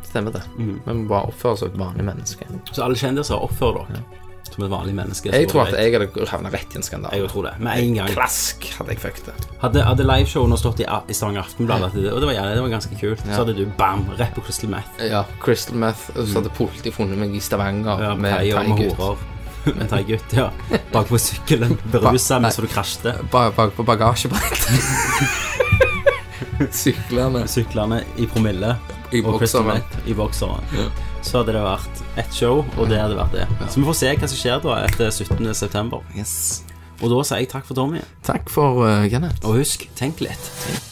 Stemmer det. Vi må bare oppføre oss som et vanlig menneske. Så alle kjendiser, oppfør dere som et vanlig menneske. Jeg så tror at vet- jeg hadde havna rett i en skandale. Jeg tror det. Med en gang. Plask hadde jeg fucket det. Hadde, hadde liveshowene stått i, i Stavanger Aftenblad, at det- og det var, gjerne- det var ganske kult, så hadde du bam, rett på Crystal Meth. Ja, Crystal Meth, og så hadde politiet funnet meg i Stavanger Mm. Ja, med thai og med thai-gutt. horer. Med en thai-gutt, ja. Bak på sykkelen, berusa mens du krasjte. Bare bak på bagasjebrettet. Syklerne. Syklerne i promille. I og Crystal bokseren. Meth I bokseren. Så hadde det vært ett show, og det hadde vært det. Så vi får se hva som skjer da etter 17. september. Yes. Og da sier jeg takk for Tommy. Takk for uh, Kenneth. Og husk, tenk litt. Tenk